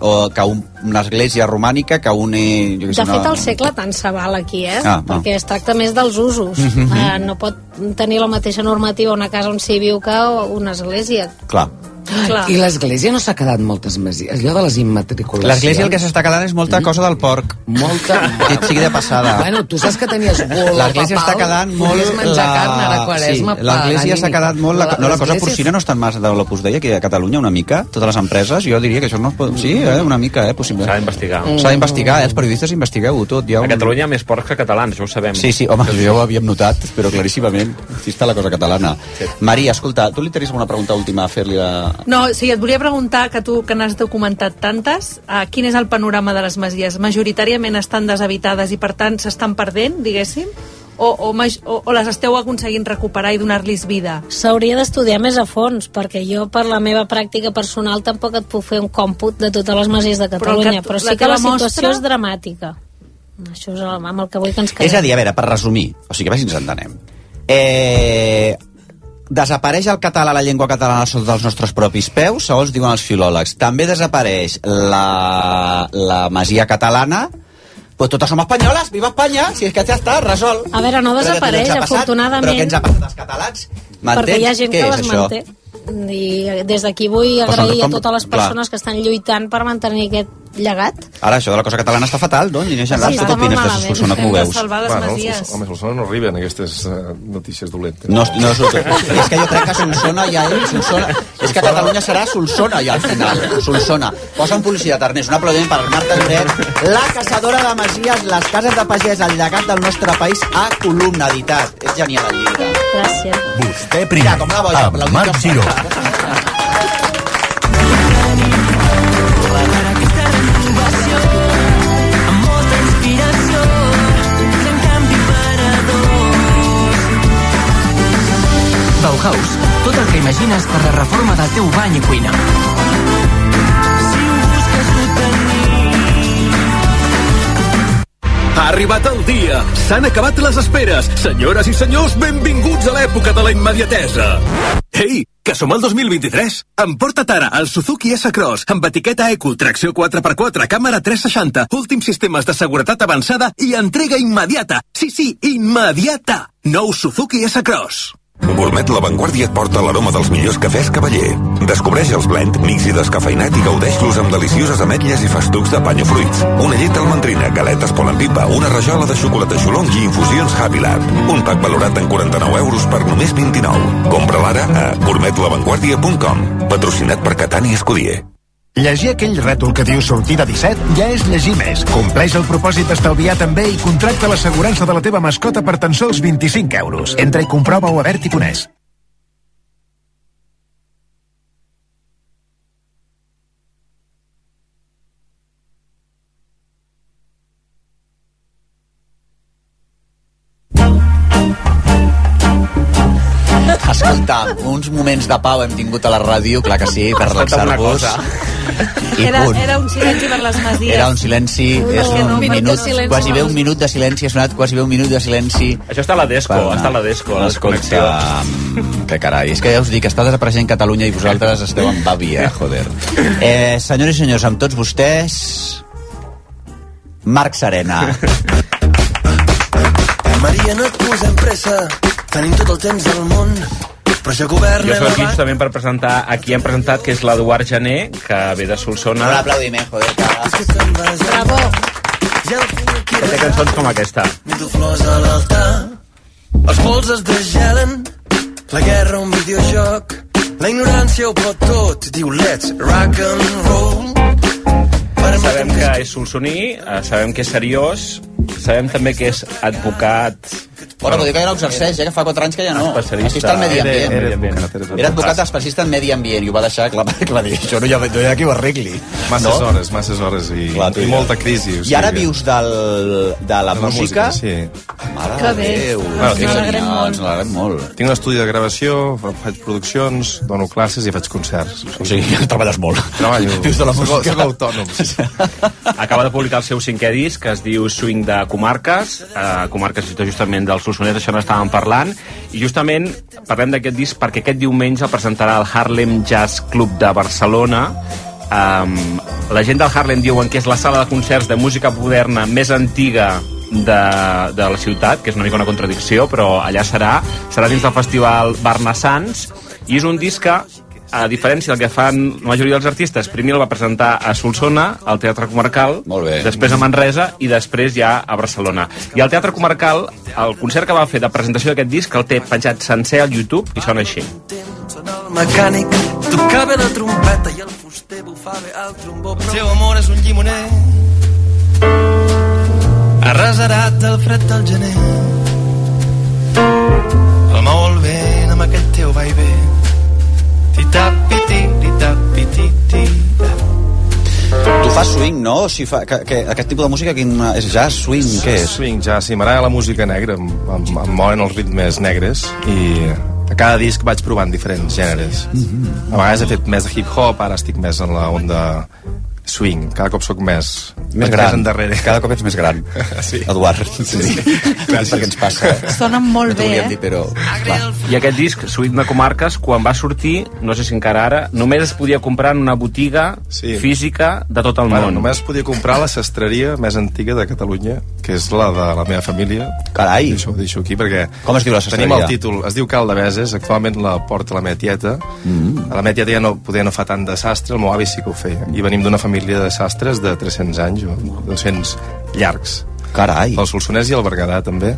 Speaker 14: o que un, una església romànica que un... eh, Jo què sé,
Speaker 21: De fet,
Speaker 14: una...
Speaker 21: el segle tant se val aquí, eh?
Speaker 14: Ah, ah.
Speaker 21: Perquè es tracta més dels usos.
Speaker 14: Mhm.
Speaker 21: Eh, no pot tenir la mateixa normativa una casa on s'hi viu que una església.
Speaker 14: Clar.
Speaker 21: Clar.
Speaker 16: I l'església no s'ha quedat moltes masies, allò de les immatriculacions.
Speaker 14: L'església el que s'està quedant és
Speaker 21: Mm.
Speaker 14: molta cosa del porc.
Speaker 16: Molta...
Speaker 14: Dit sigui de passada.
Speaker 16: Bueno, tu saps que tenies bol,
Speaker 14: [LAUGHS] L'església està quedant molt...
Speaker 16: Podies menjar carn a la quaresma.
Speaker 14: sí, l'església s'ha
Speaker 16: Paganini.
Speaker 14: quedat molt... La, no, la cosa
Speaker 16: L'església-
Speaker 14: porcina no està massa de l'Opus Dei aquí a Catalunya, una mica. Totes les empreses, jo diria que això no es pot... Sí, eh, una mica, eh, possible. S'ha
Speaker 15: d'investigar.
Speaker 14: S'ha d'investigar, eh, els periodistes investigueu-ho tot. Hi ha
Speaker 15: A
Speaker 14: un...
Speaker 15: Catalunya hi ha més porcs que catalans, això ho sabem.
Speaker 14: Sí, sí, home, jo ho havíem notat, però claríssimament aquí està la cosa catalana. Maria, escolta, tu li tenies alguna pregunta última a fer-li a...
Speaker 18: No, sí, et volia preguntar, que tu que n'has documentat tantes, uh, quin és el panorama de les masies? Majoritàriament estan deshabitades i, per tant, s'estan perdent, diguéssim? O, o, maj- o, o les esteu aconseguint recuperar i donar-los vida?
Speaker 21: S'hauria d'estudiar més a fons, perquè jo, per la meva pràctica personal, tampoc et puc fer un còmput de totes les masies de
Speaker 18: Però el que
Speaker 21: Catalunya,
Speaker 18: tu-
Speaker 21: però,
Speaker 18: la
Speaker 21: sí que
Speaker 18: teva
Speaker 21: la situació
Speaker 18: mostra-
Speaker 21: és dramàtica. Això és el, amb el que vull que ens quedem.
Speaker 14: És a dir, a veure, per resumir, o sigui, a veure si ens entenem. Eh, desapareix el català, la llengua catalana sota els nostres propis peus, segons diuen els filòlegs. També desapareix la, la masia catalana, pues totes som espanyoles, viva Espanya, si és que ja està, resol.
Speaker 21: A veure, no
Speaker 14: Però que
Speaker 21: desapareix,
Speaker 14: ens ha passat,
Speaker 21: afortunadament.
Speaker 14: Però què ens ha passat als catalans? M'entens?
Speaker 21: perquè hi ha gent
Speaker 14: Què
Speaker 21: que
Speaker 14: és
Speaker 21: les
Speaker 14: això?
Speaker 21: manté. I des d'aquí vull
Speaker 14: Doncs
Speaker 21: agrair a
Speaker 14: com-
Speaker 21: totes les
Speaker 14: clar.
Speaker 21: persones que estan lluitant per mantenir aquest llegat.
Speaker 14: Ara, això de la cosa catalana està fatal, no? En línia general,
Speaker 21: Sí,
Speaker 14: tu
Speaker 21: està
Speaker 14: què
Speaker 21: molt
Speaker 14: opines de
Speaker 21: malament.
Speaker 14: Solsona, com ho
Speaker 21: Hem de
Speaker 14: veus?
Speaker 21: salvar les masies.
Speaker 19: Solsona- home, a Solsona no arriben aquestes eh, notícies dolentes.
Speaker 14: No, no és, [LAUGHS]
Speaker 19: [LAUGHS]
Speaker 14: és que jo crec que Solsona ja és Solsona. És que Catalunya serà Solsona ja al final. Solsona. Posa'm publicitat, Ernest. Un aplaudiment per Marta Lloret, la caçadora de masies, les cases de pagès, el llegat del nostre país a columna, editat. És genial el llibre.
Speaker 21: Gràcies.
Speaker 17: Vostè primer,
Speaker 14: Mira, com la boia,
Speaker 17: amb Marc Giró.
Speaker 2: amb molta inspiració fent canvi per a dos
Speaker 22: Bauhaus, tot el que imagines per la reforma del teu bany i cuina.
Speaker 2: si ho busques ho tenim
Speaker 23: Ha arribat el dia. S'han acabat les esperes. Senyores i senyors, benvinguts a l'època de la immediatesa. Ei, que som al 2023. Emporta't ara el Suzuki S-Cross amb etiqueta Eco, tracció 4x4, càmera 360, últims sistemes de seguretat avançada i entrega immediata. Sí, sí, immediata. Nou Suzuki S-Cross.
Speaker 5: Gourmet La Vanguardia et porta l'aroma dels millors cafès cavaller. Descobreix els blend, mix i descafeinat i gaudeix-los amb delicioses ametlles i festucs de panyo fruits. Una llet almendrina, galetes Pol en pipa, una rajola de xocolata xolong i infusions Happy Lab. Un pack valorat en 49 euros per només 29. Compra-la ara a gourmetlavanguardia.com. Patrocinat per Catani Escudier.
Speaker 6: Llegir aquell rètol que diu sortida 17 ja és llegir més. Compleix el propòsit d'estalviar també i contracta l'assegurança de la teva mascota per tan sols 25 euros. Entra i comprova-ho a Bert i Conés.
Speaker 14: Escolta, uns moments de pau hem tingut a la ràdio, clar que sí, per relaxar-vos. I
Speaker 18: Era,
Speaker 14: punt.
Speaker 18: era un silenci per les masies.
Speaker 14: Era un silenci,
Speaker 18: No,
Speaker 14: és
Speaker 18: que no,
Speaker 14: un
Speaker 18: un minut de
Speaker 14: minut,
Speaker 18: silenci.
Speaker 14: quasi bé un minut de silenci, ha sonat quasi bé un minut de silenci.
Speaker 15: Això està a la Desco,
Speaker 14: Per anar.
Speaker 15: està a la Desco, a la desconnexió.
Speaker 14: Escolta, mm, que carai, és que ja us dic, està desapareixent Catalunya i vosaltres esteu en bàbia, joder.
Speaker 15: [LAUGHS]
Speaker 14: Eh, senyores i senyors, amb tots vostès... Marc Serena.
Speaker 8: Maria, no et posem pressa, tenim tot el temps del món, però ja
Speaker 15: Jo
Speaker 8: governem
Speaker 15: soc aquí justament per presentar a qui hem presentat, que és l'Eduard Jané, que ve de Solsona.
Speaker 6: Un
Speaker 14: aplaudiment, joder.
Speaker 8: Bravo! Ja el
Speaker 15: Que té cançons com aquesta.
Speaker 8: Mido flors a l'altar, els pols es desgelen, la guerra un videojoc, la ignorància ho pot tot, diu let's rock and roll.
Speaker 15: Sabem que és solsoní, eh, sabem que és seriós, sabem també que és advocat...
Speaker 14: Bueno, però diu que ja no exerceix, ja que fa 4 anys que ja no. Aquí està el medi ambient. Era, advocat especialista en medi ambient i ho va deixar clar, clar dir, això no hi ha, no hi ha qui ho arregli.
Speaker 19: Masses
Speaker 14: no?
Speaker 19: hores, masses hores i,
Speaker 14: Clar, tu
Speaker 19: i
Speaker 14: ja.
Speaker 19: molta crisi. O
Speaker 14: I ara vius del, de la música?
Speaker 19: sí.
Speaker 14: Mare Que de bé. Déu, ens n'alegrem molt. Ens n'alegrem molt.
Speaker 19: Tinc un estudi de gravació, fa- faig produccions, dono classes i faig concerts. O
Speaker 14: sigui, treballes molt.
Speaker 19: Treballo.
Speaker 14: Vius de la
Speaker 19: Soc-
Speaker 14: música.
Speaker 19: Soc autònom.
Speaker 15: Acaba de publicar el seu cinquè disc, que es diu Swing de Comarques, eh, comarques justament del Solsonès, això n'estàvem parlant, i justament parlem d'aquest disc perquè aquest diumenge el presentarà el Harlem Jazz Club de Barcelona, Um, la gent del Harlem diuen que és la sala de concerts de música moderna més antiga de, de la ciutat, que és una mica una contradicció, però allà serà. Serà dins del festival Barnassans, i és un disc que a diferència del que fan la majoria dels artistes, primer el va presentar a Solsona, al Teatre Comarcal, després a Manresa i després ja a Barcelona. I al Teatre Comarcal, el concert que va fer de presentació d'aquest disc el té penjat sencer al YouTube i sona així.
Speaker 8: El mecànic tocava la trompeta i el fuster bufava el trombó, però el seu amor és un llimoner arrasarat del fred del gener. El mou el vent amb aquest teu va i ve. Titapiti, titapiti,
Speaker 14: Tu fas [LAUGHS] swing, no? O sigui, fa, que, que, aquest tipus de música quina, és jazz, swing, què és?
Speaker 19: Swing, ja, sí, m'agrada la música negra, em, em, em molen els ritmes negres i a cada disc vaig provant diferents gèneres. A vegades he fet més de hip-hop, ara estic més en la onda swing. Cada cop sóc més...
Speaker 14: Més gran.
Speaker 19: endarrere.
Speaker 14: Cada cop ets més gran,
Speaker 19: [LAUGHS] sí.
Speaker 14: Eduard. Sí, sí. Gràcies. Perquè ens passa.
Speaker 18: Sonen molt bé, eh?
Speaker 14: però... Clar.
Speaker 15: I aquest disc, Suït de Comarques, quan va sortir, no sé si encara ara, només es podia comprar en una botiga sí. física de tot el
Speaker 19: Bueno,
Speaker 15: món.
Speaker 19: només podia comprar la sastreria més antiga de Catalunya, que és la de la meva família.
Speaker 14: Carai!
Speaker 19: Això ho deixo aquí perquè...
Speaker 14: Com es diu la sastreria?
Speaker 19: Tenim el títol, es diu Caldebeses, actualment la porta la meva tieta. Mm. La meva tieta ja no, poder no fa tant de sastre, el meu avi sí que ho feia. I venim d'una família de sastres de 300 anys, o 200 llargs.
Speaker 14: Carai!
Speaker 19: El Solsonès i el Berguedà, també.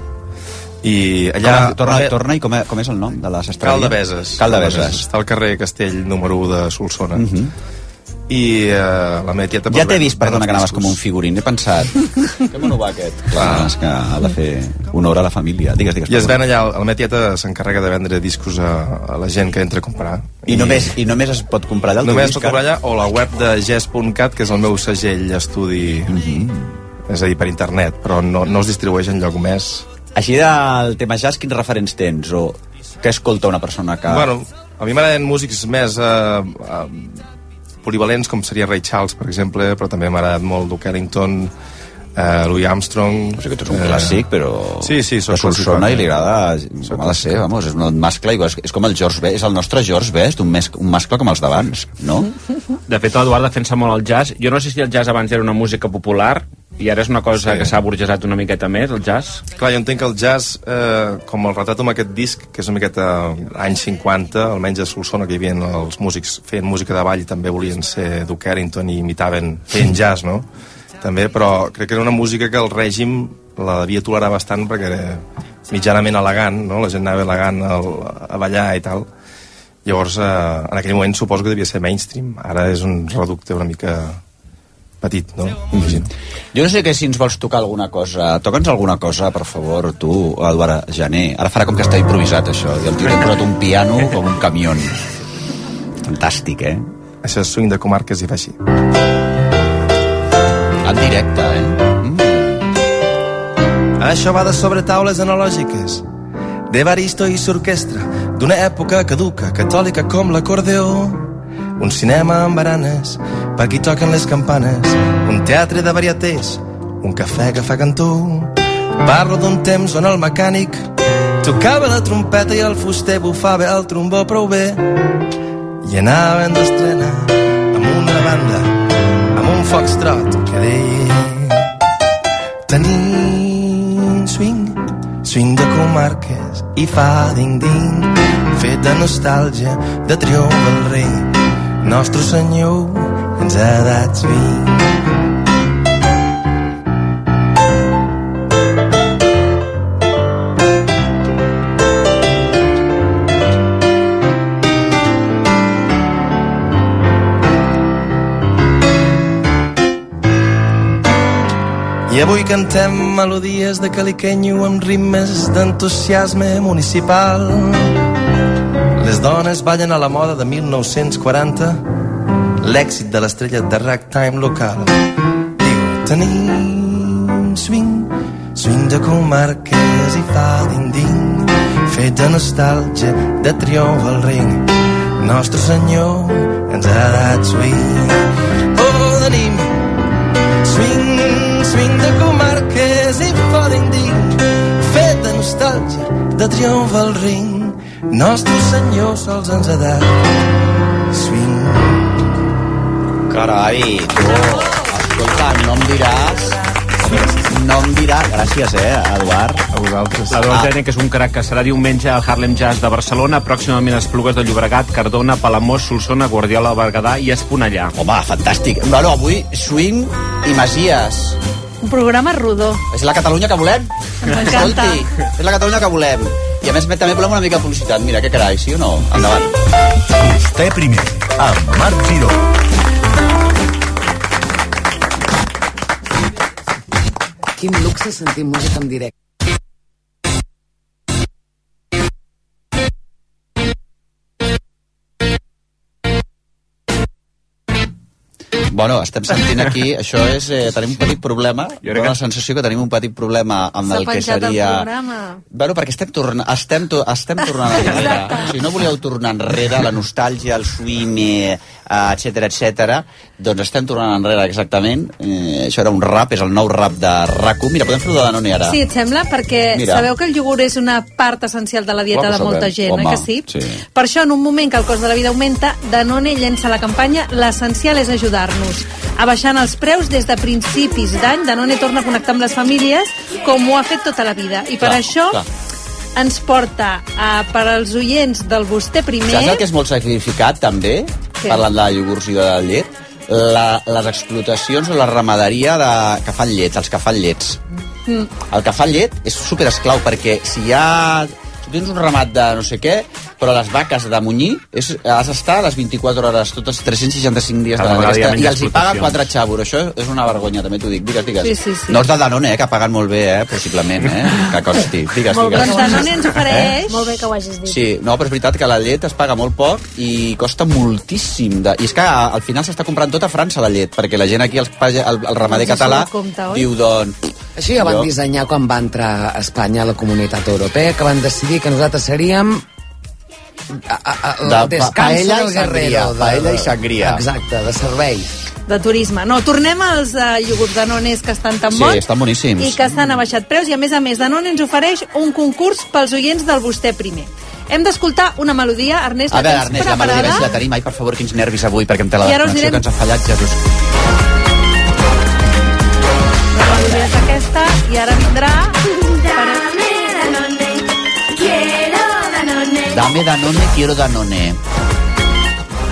Speaker 19: I
Speaker 14: Allà,
Speaker 19: allà...
Speaker 14: torna, torna i com, e- com és el nom de la sastreria?
Speaker 19: Caldebeses.
Speaker 14: Caldebeses.
Speaker 19: Està al carrer Castell, número 1 de Solsona. Mm -hmm. I eh, la meva tieta...
Speaker 14: Mhm. Ja t'he vist, perdona, que anaves com un figurín. He pensat, que mono va aquest. Clar, és que ha de fer honor a la família. Digues, digues.
Speaker 19: I es
Speaker 14: perdona.
Speaker 19: ven allà, la meva tieta s'encarrega de vendre discos a, a la gent que entra a comprar.
Speaker 14: I només, I només es pot comprar allà? el teu
Speaker 19: només es
Speaker 14: disc, eh?
Speaker 19: pot comprar allà o la web de jazz.cat, que és el meu segell estudi, mm
Speaker 14: Mhm.
Speaker 19: -hmm. és a dir, per internet, però no, no es distribueix en lloc més.
Speaker 14: Així del tema jazz, quins referents tens? O què escolta una persona que...
Speaker 19: Bueno, a mi m'agraden músics més eh, eh, polivalents, com seria Ray Charles, per exemple, però també m'ha agradat molt Duke Ellington, eh, Louis Armstrong... O sigui que tu ets
Speaker 14: un clàssic, però...
Speaker 19: Sí, sí,
Speaker 14: que
Speaker 19: soc
Speaker 14: Solsona
Speaker 19: clàssic,
Speaker 14: i li
Speaker 19: eh?
Speaker 14: agrada com ha de ser, vamos, és un mascle igual, és com el George Best, el nostre George Best, un, mes, un mascle com els d'abans, no?
Speaker 15: De fet, l'Eduard defensa molt el jazz. Jo no sé si el jazz abans era una música popular, I ara és una cosa sí. que s'ha burgesat una miqueta més, el jazz.
Speaker 19: Clar, jo entenc que el jazz, eh, com el retrat amb aquest disc, que és una miqueta eh, anys 50, almenys a Solsona, que hi havia els músics feien música de ball i també volien ser Duke Ellington i imitaven, feien jazz, no? També, però crec que era una música que el règim la devia tolerar bastant perquè era mitjanament elegant, no? La gent anava elegant al, a ballar i tal. Llavors, eh, en aquell moment suposo que devia ser mainstream. Ara és un reducte una mica petit, no? Imagino.
Speaker 14: Jo no sé que si ens vols tocar alguna cosa. Toca'ns alguna cosa, per favor, tu, Eduard Jané. Ara farà com que està improvisat, això. I el tio li ha posat un piano com un camió. Fantàstic, eh?
Speaker 19: Això és swing de comarques i va així.
Speaker 14: En directe, eh?
Speaker 8: Això va de sobre taules analògiques d'Evaristo i s'orquestra d'una època caduca, catòlica com l'acordeó un cinema amb baranes per qui toquen les campanes un teatre de varietés un cafè que fa cantó parlo d'un temps on el mecànic tocava la trompeta i el fuster bufava el trombó prou bé i anaven d'estrena amb una banda amb un foxtrot que deia tenim swing, swing de comarques i fa ding-ding, fet de nostàlgia, de triomf del rei. Nostre senyor ens ha dat swing. I avui cantem melodies de caliquenyo amb ritmes d'entusiasme municipal. Les dones ballen a la moda de 1940, l'èxit de l'estrella de ragtime local. Diu, tenim swing, swing de comarques i fa ding-ding, fet de nostàlgia, de triomf al ring. Nostre senyor ens ha dat swing. Oh, tenim swing swing de comarques i poden dir fet de nostàlgia, de triomf al ring nostre senyor sols ens ha dat swing
Speaker 14: Carai, tu, escolta, no em diràs... No em diràs... Gràcies, eh, Eduard.
Speaker 19: A vosaltres.
Speaker 15: La Dolce ah. que és un crac que serà diumenge al Harlem Jazz de Barcelona, pròximament a Esplugues de Llobregat, Cardona, Palamós, Solsona, Guardiola de Berguedà i Esponellà.
Speaker 14: Home, fantàstic. Bueno, avui, swing i masies.
Speaker 18: Un programa rodó.
Speaker 14: És la Catalunya que volem.
Speaker 18: M'encanta.
Speaker 14: Escolti, és la Catalunya que volem. I a més també volem una mica de publicitat. Mira, que carai, sí o no? Endavant.
Speaker 17: Vostè primer, amb Marc Giró.
Speaker 16: Quin luxe sentir música en directe.
Speaker 14: Bueno, estem sentint
Speaker 18: [LAUGHS]
Speaker 14: aquí, això és... Eh, tenim un petit problema,
Speaker 15: Jo crec
Speaker 14: dona
Speaker 15: que-
Speaker 14: la sensació que tenim un petit problema amb
Speaker 18: S'ha
Speaker 14: el que
Speaker 18: penjat el
Speaker 14: seria...
Speaker 18: programa.
Speaker 14: Bueno, perquè estem, torna, estem, to, estem tornant enrere. Si no volíeu tornar enrere, la nostàlgia, el eh, swim, etc etc. doncs estem tornant enrere exactament. Eh, això era un rap, és el nou rap de rac Mira, podem fer-ho de Danone ara.
Speaker 18: Sí, et sembla? Perquè
Speaker 14: Mira.
Speaker 18: Mira. sabeu que el iogurt és una part essencial de la dieta
Speaker 14: Clar que
Speaker 18: de molta
Speaker 14: sabem.
Speaker 18: gent,
Speaker 14: Home,
Speaker 18: eh que sí?
Speaker 14: sí.
Speaker 18: Per això, en un moment que el cost de la vida augmenta, Danone llença la campanya L'essencial és ajudar-nos. Abaixant els preus des de principis d'any, Danone torna a connectar amb les famílies com ho ha fet tota la vida. I per
Speaker 14: Clar,
Speaker 18: això
Speaker 14: clar.
Speaker 18: ens porta, a, per als oients del vostè primer...
Speaker 14: Saps el que és molt sacrificat, també?
Speaker 18: Què?
Speaker 14: Parlant de iogurts i de llet. La, les explotacions o la ramaderia de, que fan llets, els que fan llets.
Speaker 2: Mm.
Speaker 14: El que fa llet és super esclau perquè si hi ha... Si tens un ramat de no sé què, però les vaques de munyir és, has d'estar a les 24 hores, totes 365 dies de
Speaker 4: Cada
Speaker 14: la
Speaker 4: vegada hi ha
Speaker 14: resta,
Speaker 4: menys
Speaker 14: i els hi paga
Speaker 4: explotacions.
Speaker 14: 4 xavos. Això és una vergonya, també t'ho dic. Digues, digues.
Speaker 18: Sí, sí, sí.
Speaker 14: No els de Danone, eh, que paguen molt bé, eh, possiblement, eh, que costi. Digues,
Speaker 18: Molt bé,
Speaker 14: digues.
Speaker 18: doncs Danone ens
Speaker 14: Eh?
Speaker 18: ofereix...
Speaker 21: Molt bé que ho hagis dit.
Speaker 14: Sí, no, però és veritat que la llet es paga molt poc i costa moltíssim. De... I és que a- al final s'està comprant tota França la llet, perquè la gent aquí, els page... el, el ramader
Speaker 16: Doncs això
Speaker 14: català,
Speaker 16: no compta, oi?
Speaker 14: diu, doncs...
Speaker 16: Així ja van
Speaker 14: Jo-
Speaker 16: dissenyar quan va entrar a Espanya a la comunitat europea, que van decidir que nosaltres seríem eh, a, a, a,
Speaker 14: De
Speaker 16: descanso
Speaker 14: pa- paella
Speaker 16: del
Speaker 14: i sangria,
Speaker 16: guerrero, de-
Speaker 14: paella i sangria. [LAUGHS]
Speaker 16: Exacte, de servei.
Speaker 18: de turisme. No, tornem als uh, iogurts Danones que estan tan bons
Speaker 14: estan boníssims.
Speaker 18: i que s'han abaixat preus i a més a més Danone ens ofereix un concurs pels oients del vostè primer. Hem d'escoltar una melodia, Ernest,
Speaker 14: A veure,
Speaker 18: la tens
Speaker 14: Ernest, la melodia
Speaker 18: preparada?
Speaker 14: si la tenim. Ai, per favor, quins nervis avui, perquè em té la
Speaker 18: I ara us
Speaker 14: desconnexió
Speaker 18: direm-
Speaker 14: que ens ha fallat, Jesús.
Speaker 18: festa i ara vindrà...
Speaker 2: Dame Danone, quiero Danone.
Speaker 14: Dame Danone, quiero Danone.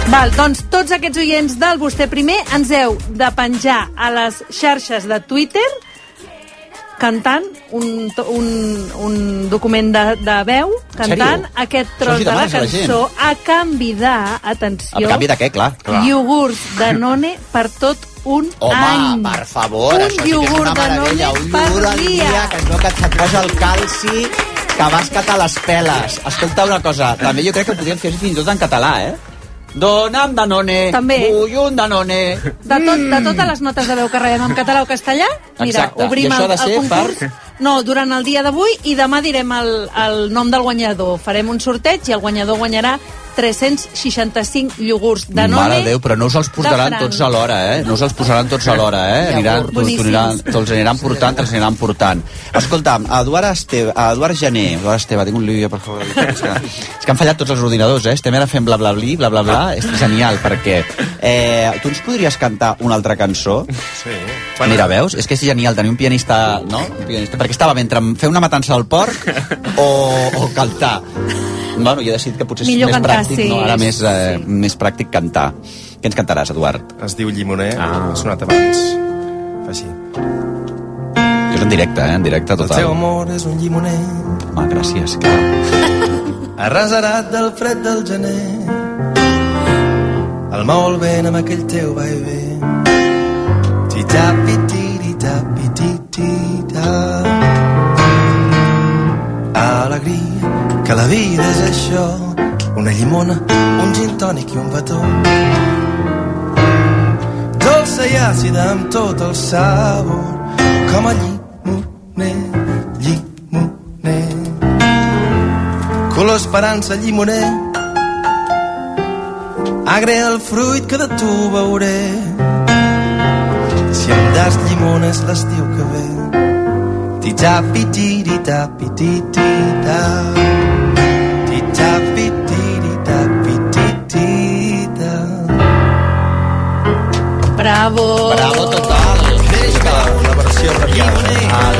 Speaker 18: Val, doncs tots aquests oients del Vostè Primer ens heu de penjar a les xarxes de Twitter cantant un, to- un, un document de, de veu, cantant
Speaker 14: sèrio?
Speaker 18: aquest
Speaker 14: Això
Speaker 18: tros
Speaker 14: els hi
Speaker 18: de la
Speaker 14: demanes a la
Speaker 18: cançó a canvi de, atenció,
Speaker 14: A canvi de què, clar? clar.
Speaker 18: iogurts
Speaker 14: [LAUGHS]
Speaker 18: Danone per tot un
Speaker 14: Home,
Speaker 18: any.
Speaker 14: per favor,
Speaker 18: Un
Speaker 14: això sí que és una
Speaker 18: iogurt de
Speaker 14: meravella.
Speaker 18: None
Speaker 14: Un
Speaker 18: per
Speaker 14: iogurt al
Speaker 18: dia.
Speaker 14: dia, que es veu que et posa el calci, que vas cap a les peles. Escolta una cosa, també jo crec que podríem fer fins i tot en català, eh? Dona'm Danone,
Speaker 18: També.
Speaker 14: vull un Danone.
Speaker 18: De, tot, de totes les notes de veu que rebem en català o castellà, mira,
Speaker 14: Mm. Exacte.
Speaker 18: obrim
Speaker 14: I això
Speaker 18: el,
Speaker 14: ha de
Speaker 18: el
Speaker 14: ser
Speaker 18: concurs.
Speaker 14: per-
Speaker 18: No, durant el dia d'avui i demà direm el, el nom del guanyador. Farem un sorteig i el guanyador guanyarà 365 iogurts de
Speaker 14: Mare
Speaker 18: None.
Speaker 14: de Déu, però no us els
Speaker 18: de
Speaker 14: posaran
Speaker 18: franc.
Speaker 14: tots alhora, eh? No us els posaran tots alhora, eh? Aniran, tu,
Speaker 18: Boníssims.
Speaker 14: tu aniran, te'ls aniran portant, te'ls aniran portant. Escolta'm, Eduard, Esteve, Eduard Gené, Eduard Esteve, tinc un lío, per favor. És que, és que han fallat tots els ordinadors, eh? Estem ara fent bla bla bla, bla bla bla, és genial, perquè eh, tu ens podries cantar una altra cançó?
Speaker 19: Sí.
Speaker 14: Bueno. Mira, veus? És que és genial tenir un pianista, no? Un pianista, perquè estava entre fer una matança del porc o, o cantar. Bueno, jo he decidit que potser és
Speaker 18: Millor
Speaker 14: més
Speaker 18: cantar,
Speaker 14: pràctic,
Speaker 18: sí.
Speaker 14: no? Ara més, eh, més pràctic cantar. Què ens cantaràs, Eduard?
Speaker 19: Es diu Llimoner, ah. ha sonat abans. Fa així.
Speaker 14: És en directe, eh? En directe
Speaker 19: El seu
Speaker 14: total.
Speaker 19: amor és un llimoner
Speaker 14: Home, gràcies, clar.
Speaker 8: [LAUGHS] Arrasarat del fred del gener El mou el vent amb aquell teu baby Titapi, tiri, tapi, titi, ta Alegria, que la vida és això Una llimona, un gin tònic i un petó Dolça i àcida amb tot el sabor Com a llimoner, llimoner color esperança llimoner agre el fruit que de tu veuré si em das llimones l'estiu que ve titapi tiri tapi titi ta titapi tiri tapi titi ta
Speaker 18: Bravo!
Speaker 14: Bravo total! La versió el,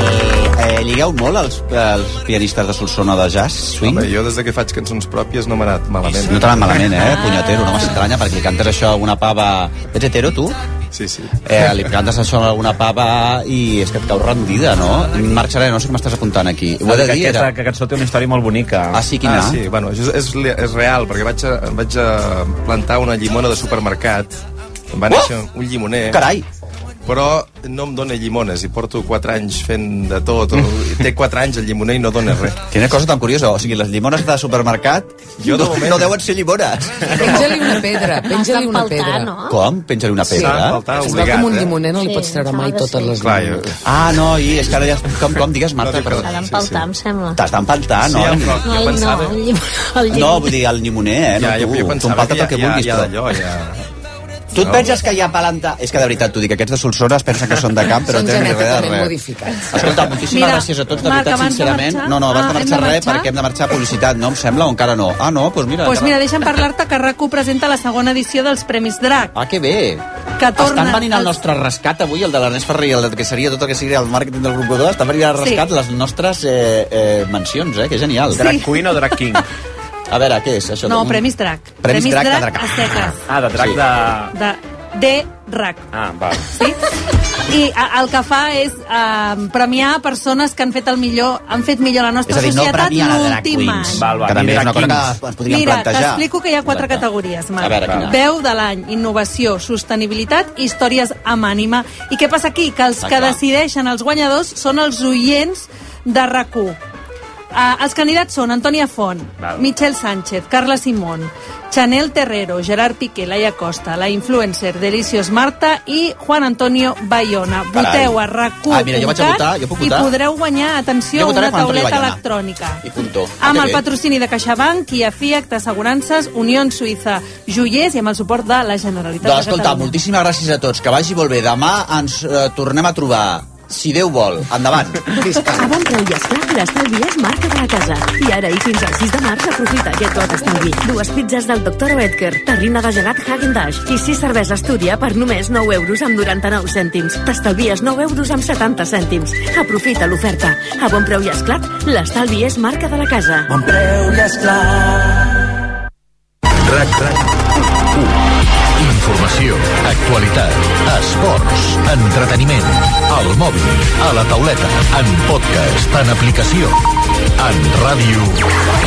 Speaker 14: eh, lligueu molt els, els pianistes de Solsona de jazz, swing?
Speaker 19: Home, jo des de que faig cançons pròpies no m'ha anat malament.
Speaker 14: No t'ha anat malament, eh, punyatero, no m'estranya, perquè li cantes això a una pava... Ets hetero, tu?
Speaker 19: Sí, sí.
Speaker 14: Eh, li cantes això a alguna pava i és que et cau rendida, no? Marc Serena, no sé què m'estàs apuntant aquí. Ho he de
Speaker 15: Que
Speaker 14: dir,
Speaker 15: aquesta
Speaker 14: era...
Speaker 15: que cançó té una història molt bonica.
Speaker 14: Ah, sí, quina?
Speaker 19: Ah, sí, bueno, això és, és, és real, perquè vaig a, vaig a plantar una llimona de supermercat. Em va
Speaker 14: Oh!
Speaker 19: néixer un llimoner.
Speaker 14: Carai!
Speaker 19: Però no em dóna llimones, i porto 4 anys fent de tot. O, té 4 anys el llimoner i no dóna res.
Speaker 14: Quina cosa tan curiosa, o sigui, les llimones de supermercat
Speaker 19: Jo de
Speaker 14: no,
Speaker 19: moment- Ah.
Speaker 14: no deuen ser llimones.
Speaker 16: Penja-li una pedra, penja-li una
Speaker 21: empaltar,
Speaker 16: pedra.
Speaker 21: no?
Speaker 14: Com? Penja-li una pedra? eh?
Speaker 16: es veu com un
Speaker 19: eh?
Speaker 16: llimoner no li pots treure mai totes les
Speaker 14: Clar, jo... Ah, no, i és que ara ja... Com, com digues, Marta? perdó.
Speaker 21: S'ha d'empaltar, em sembla.
Speaker 14: T'has d'empaltar, no?
Speaker 19: Sí, però
Speaker 21: No,
Speaker 19: jo
Speaker 21: el, no,
Speaker 19: pensava...
Speaker 21: el llim... El llim...
Speaker 14: No, vull dir, el llimoner, eh?
Speaker 19: Ja,
Speaker 14: no,
Speaker 19: jo,
Speaker 14: tu,
Speaker 19: jo
Speaker 14: tu
Speaker 19: pensava
Speaker 14: empalta't
Speaker 19: que ja,
Speaker 14: el que
Speaker 19: ja,
Speaker 14: vulguis,
Speaker 19: ja
Speaker 14: però-
Speaker 19: d'allò, ja...
Speaker 14: Tu et penses que hi ha palanta... És que de veritat t'ho dic, aquests de Solsona es pensen que són de camp, però
Speaker 16: Són
Speaker 14: no tenen ni res de
Speaker 16: genèticament
Speaker 14: res.
Speaker 16: modificats.
Speaker 14: Escolta, moltíssimes
Speaker 16: Mira,
Speaker 14: gràcies a tots, de
Speaker 16: Marc,
Speaker 14: veritat,
Speaker 16: abans de
Speaker 14: sincerament.
Speaker 16: marxar?
Speaker 14: No, no, abans de
Speaker 16: Ah, hem de
Speaker 14: marxar res,
Speaker 16: marxar?
Speaker 14: perquè hem de marxar a publicitat, no? Em sembla, o encara no? Ah, no? Doncs pues mira...
Speaker 18: Doncs pues mira,
Speaker 14: encara-
Speaker 18: deixa'm parlar-te que rac presenta la segona edició dels Premis DRAC,
Speaker 14: Ah, que bé!
Speaker 18: que torna...
Speaker 14: Estan venint al nostre rescat avui, el de l'Ernest Ferrer i el que seria tot el que seria el màrqueting del grup 2, estan venint al
Speaker 18: Sí.
Speaker 14: rescat les nostres eh, eh, mencions, eh? Que genial.
Speaker 18: Sí. Drag
Speaker 14: queen o drag king? A veure, què és això?
Speaker 18: No,
Speaker 14: Un-
Speaker 18: Premis DRAC.
Speaker 14: Premis Drac de Drac.
Speaker 18: a seques.
Speaker 15: Ah, de drac
Speaker 14: Sí.
Speaker 15: de...
Speaker 18: De D-RAC.
Speaker 15: Ah, val.
Speaker 18: Sí? I a- el que fa és eh, premiar persones que han fet el millor, han fet millor la nostra
Speaker 14: És a dir, no
Speaker 18: societat
Speaker 14: premien a drag
Speaker 18: l'últim
Speaker 14: queens,
Speaker 18: any.
Speaker 14: Val, val, que també és una cosa que es podríem
Speaker 18: Mira,
Speaker 14: plantejar.
Speaker 18: t'explico que hi ha quatre categories, Marc.
Speaker 14: A veure, quina?
Speaker 18: Veu de l'any, innovació, sostenibilitat i històries amb ànima. I què passa aquí? Que els
Speaker 14: Ah,
Speaker 18: que
Speaker 14: clar.
Speaker 18: decideixen els guanyadors són els oients de RAC1. Uh, els candidats són Antònia Font,
Speaker 2: Val.
Speaker 18: Michel Sánchez, Carla Simón, Chanel Terrero, Gerard Piqué, Laia Costa, la influencer Delicios Marta i Juan Antonio Bayona.
Speaker 14: Carai.
Speaker 18: Voteu a rac
Speaker 14: Ah, mira, jo vaig a votar, jo puc
Speaker 18: i
Speaker 14: votar?
Speaker 18: podreu guanyar,
Speaker 14: Jo
Speaker 18: atenció,
Speaker 14: votaré
Speaker 18: una
Speaker 14: Juan Antonio
Speaker 18: tauleta
Speaker 14: Bayona.
Speaker 18: electrònica.
Speaker 14: I puntó. Ah,
Speaker 18: Amb
Speaker 14: que
Speaker 18: el
Speaker 14: bé.
Speaker 18: patrocini de CaixaBank, Kia Fiat, Assegurances, Unió Suïssa, Joiers i amb el suport de la Generalitat
Speaker 14: Doncs
Speaker 18: de
Speaker 14: escolta,
Speaker 18: Catalunya.
Speaker 14: moltíssimes gràcies a tots, que vagi molt bé. Demà ens eh, tornem a trobar si Déu vol. Endavant.
Speaker 7: A bon preu i esclar, l'estalvi és marca de la casa. I ara i fins al 6 de març aprofita aquest tot estalvi. Dues pizzas del Dr. Oetker, terrina de gelat Hagen Dash i sis cerveses Túria per només 9 euros amb 99 cèntims. T'estalvies 9 euros amb 70 cèntims. Aprofita l'oferta. A bon preu i esclat, l'estalvi és marca de la casa.
Speaker 22: Bon preu i esclar.
Speaker 17: RAC RAC 1 Informació, actualitat, esports, entreteniment, al mòbil, a la tauleta, en podcast, en aplicació, en ràdio,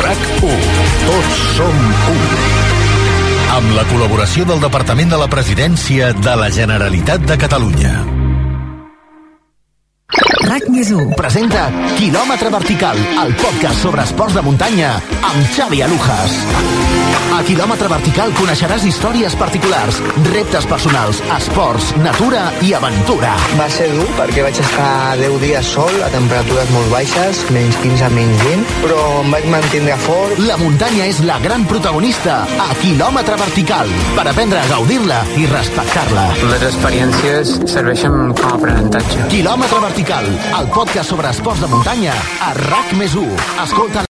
Speaker 17: RAC1. Tots som un. Amb la col·laboració del Departament de la Presidència de la Generalitat de Catalunya.
Speaker 10: RAC més presenta Kilòmetre Vertical, el podcast sobre esports de muntanya amb Xavi Alujas. A Kilòmetre Vertical coneixeràs històries particulars, reptes personals, esports, natura i aventura.
Speaker 11: Va ser dur perquè vaig estar 10 dies sol a temperatures molt baixes, menys 15, menys 20, però em vaig mantindre fort.
Speaker 10: La muntanya és la gran protagonista a Kilòmetre Vertical per aprendre a gaudir-la i respectar-la.
Speaker 24: Les experiències serveixen com a aprenentatge.
Speaker 10: Kilòmetre Vertical, el podcast sobre esports de muntanya a RAC més 1. Escolta